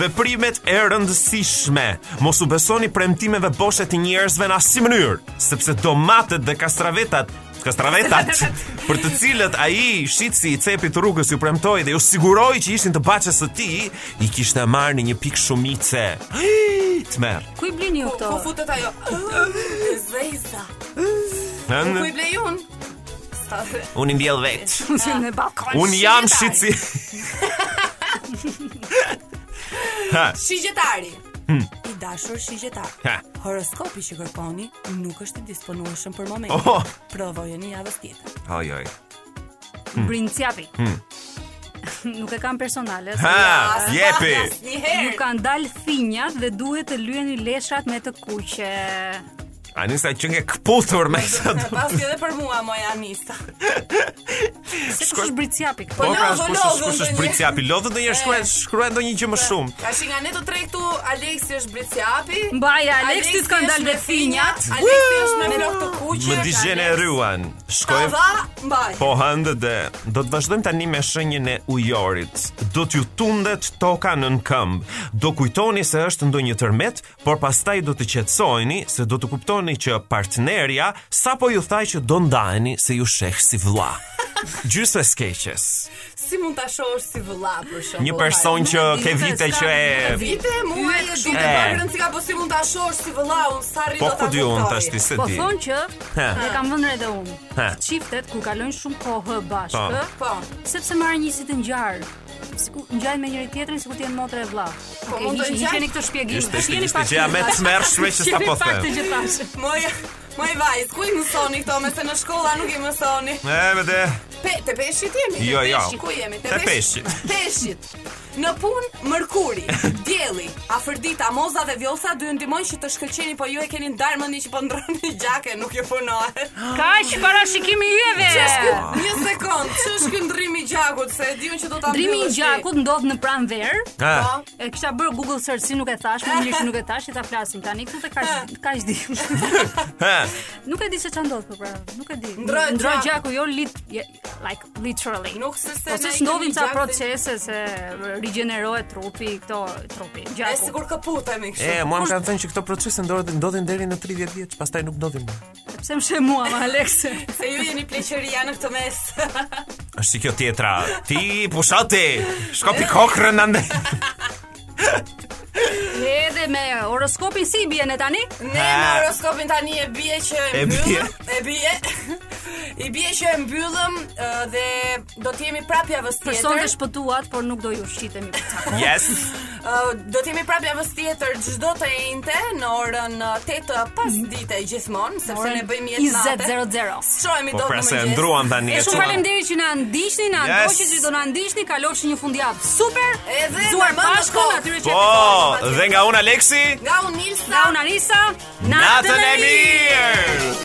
Speaker 11: veprimet e rëndësishme. Mos u besoni premtimeve boshe të njerëzve në asnjë mënyrë, sepse domatet dhe kastravetat kastravetat për të cilët ai shitsi i cepit të rrugës ju premtoi dhe ju siguroi që ishin të baçës së tij, i kishte marrë në një pikë shumice. Tmer.
Speaker 1: Ku i blini ju këto?
Speaker 3: Po futet ajo. Zeza. Ku i blejun?
Speaker 11: Unë i mbjell vetë.
Speaker 1: Fusin në balkon.
Speaker 11: Unë jam
Speaker 3: Shqiptar.
Speaker 11: shitsi. ha,
Speaker 3: Shigjetari. I dashur shigjetar.
Speaker 11: Hmm. Ha.
Speaker 3: Horoskopi që kërkoni nuk është i disponueshëm për momentin.
Speaker 11: Oho.
Speaker 3: Provojeni javës tjetër.
Speaker 11: Oj, oj. Hmm.
Speaker 1: Brinciapi. Nuk e kam personale.
Speaker 11: Ha, jepi.
Speaker 3: Asnjëherë.
Speaker 1: Nuk kanë dalë thinjat dhe duhet të lyeni leshat me të kuqe.
Speaker 11: Anisa që nge këputur me këtë
Speaker 3: Paske edhe për mua moja anista.
Speaker 1: Se kush është bricjapi këtu?
Speaker 3: Po,
Speaker 11: Po pra,
Speaker 3: lodhën,
Speaker 11: kush është kush
Speaker 3: lodhën
Speaker 11: është
Speaker 3: ndonjë.
Speaker 11: bricjapi? Lodhët ndonjë shkruaj,
Speaker 3: E.
Speaker 11: shkruaj ndonjë gjë më shumë.
Speaker 3: Tash nga ne të tre këtu Aleksi është Briciapi.
Speaker 1: Mbaja, Aleksi
Speaker 3: Aleksi
Speaker 1: s'ka ndalë
Speaker 3: është
Speaker 1: dhe
Speaker 3: me
Speaker 1: finjat.
Speaker 3: Aleksi është me flok të kuqe.
Speaker 11: Më digjene e ruan.
Speaker 3: Ka
Speaker 11: Shkojmë
Speaker 3: dha mbaj.
Speaker 11: Po hëndë dhe, do të vazhdojmë tani me shenjën e ujorit. Do t'ju tundet toka në në këmbë. Do kujtoni se është ndonjë tërmet, por pastaj do të qetësojni se do të kuptoni që partnerja sapo ju thaj që do ndaheni se ju sheh si vëlla. Gjysmë e skeqes.
Speaker 3: Si mund ta shohësh si vëlla për shembull?
Speaker 11: Një person që
Speaker 1: Nuk
Speaker 11: ke
Speaker 1: e di,
Speaker 11: vite
Speaker 1: s'ka nuk
Speaker 11: që
Speaker 1: e
Speaker 11: e
Speaker 1: di.
Speaker 3: Vite mua e di të
Speaker 11: E.
Speaker 3: pa rëndësi ka po si mund ta shohësh si vëlla, unë sa rri
Speaker 11: Po
Speaker 3: do ta
Speaker 11: ku di unë
Speaker 3: kuptoj.
Speaker 11: tash ti se
Speaker 1: Po
Speaker 11: di.
Speaker 1: thonë që
Speaker 11: Ha.
Speaker 1: e kam vënë re edhe unë.
Speaker 11: Ha.
Speaker 1: Çiftet kur kalojnë shumë kohë
Speaker 11: Po.
Speaker 1: bashkë,
Speaker 3: Po.
Speaker 1: sepse marrin njësi të ngjarë. Sikur ngjajnë me njëri tjetrin sikur të jenë motra e vllah. Po
Speaker 3: mund të ngjajnë-
Speaker 1: jeni këtë shpjegim.
Speaker 11: Ishte
Speaker 1: tash jeni
Speaker 11: ishte ishte
Speaker 1: pak
Speaker 11: gjëja
Speaker 1: të
Speaker 11: më
Speaker 1: tash.
Speaker 11: të mërshme që
Speaker 1: Jeni
Speaker 11: sapo
Speaker 1: pak
Speaker 11: them.
Speaker 1: të gjithashë.
Speaker 3: Moj Moj vajz, ku i mësoni këto me se në shkolla nuk i mësoni?
Speaker 11: E, vete.
Speaker 3: Pe, te peshit jemi?
Speaker 11: Jo,
Speaker 3: te
Speaker 11: jo.
Speaker 3: peshit, Ku jemi?
Speaker 11: Te
Speaker 3: pesh- Peshit. Në punë, mërkuri, dielli, afërdita, moza dhe vjosa dy ndihmojnë që të shkëlqeni, po ju e keni ndarë mendin që po ndroni gjakën, nuk ju punohet.
Speaker 11: Ah.
Speaker 1: Kaq para shikimi yjeve.
Speaker 3: Ç'është ky? Një sekond, ç'është ky ndrimi i gjakut? Se e diun që do ta
Speaker 1: Ndrimi i
Speaker 3: mbyllësh ti.
Speaker 1: gjakut ndodh në pranverë.
Speaker 11: Ha.
Speaker 3: Po.
Speaker 1: E kisha bërë Google search si nuk e thash, më mirë që nuk e thash, i ta flasim tani këtu te kaq kaq di.
Speaker 11: Ha.
Speaker 1: nuk e di se ç'a ndodh po pra, nuk e di.
Speaker 3: Ndrohet
Speaker 1: Ndroj
Speaker 3: gjaku.
Speaker 1: gjaku jo lit je- like literally.
Speaker 3: Nuk se Po se
Speaker 1: Ose
Speaker 3: na i
Speaker 1: s'ndodhin
Speaker 3: kemi
Speaker 1: ca
Speaker 3: gjakun.
Speaker 1: procese se rigjenerohet trupi, këto trupi,
Speaker 3: E
Speaker 1: gjaku.
Speaker 3: sigur kaputemi kështu.
Speaker 11: E, mua më kanë thënë që këto procese ndodhin ndodhin deri në 30 vjeç, pastaj nuk ndodhin më.
Speaker 1: Pse më shemua ma Alex?
Speaker 3: Se ju jeni pleqëria në këtë mes.
Speaker 11: Është si kjo tjetra. Ti pushati. Shko pikokrën ande.
Speaker 1: Edhe me horoskopin si bie ne tani?
Speaker 3: Ne në horoskopin tani e bie që
Speaker 11: E bie.
Speaker 3: mbyllëm, e bie. I bie që e mbyllëm ë, dhe do të jemi prapë javës
Speaker 1: Person të
Speaker 3: tjetër.
Speaker 1: shpëtuat, por nuk do ju shqitemi për çfarë.
Speaker 11: Yes.
Speaker 3: Ë, Do të jemi prapë javës tjetër çdo të njëjtë në orën ë, 8 të pasdite gjithmonë, sepse ne bëjmë jetë natë.
Speaker 1: 20:00.
Speaker 3: Shohemi
Speaker 11: Po
Speaker 3: dot
Speaker 11: pra
Speaker 3: në
Speaker 11: se
Speaker 3: mëngjes.
Speaker 11: ndruan tani.
Speaker 1: E
Speaker 11: e
Speaker 1: shumë
Speaker 11: çuna.
Speaker 1: faleminderit që na ndiqni, na
Speaker 11: Yes.
Speaker 1: ndoqni që do na ndiqni, kalofshi një fundjavë super.
Speaker 3: Edhe
Speaker 1: zuar
Speaker 3: në mëndë
Speaker 1: bashku
Speaker 3: kohë.
Speaker 1: atyre që
Speaker 11: Po, dhe nga unë Aleksi,
Speaker 3: Nga unë Nilsa.
Speaker 1: Nga unë Anisa,
Speaker 11: natën e mirë.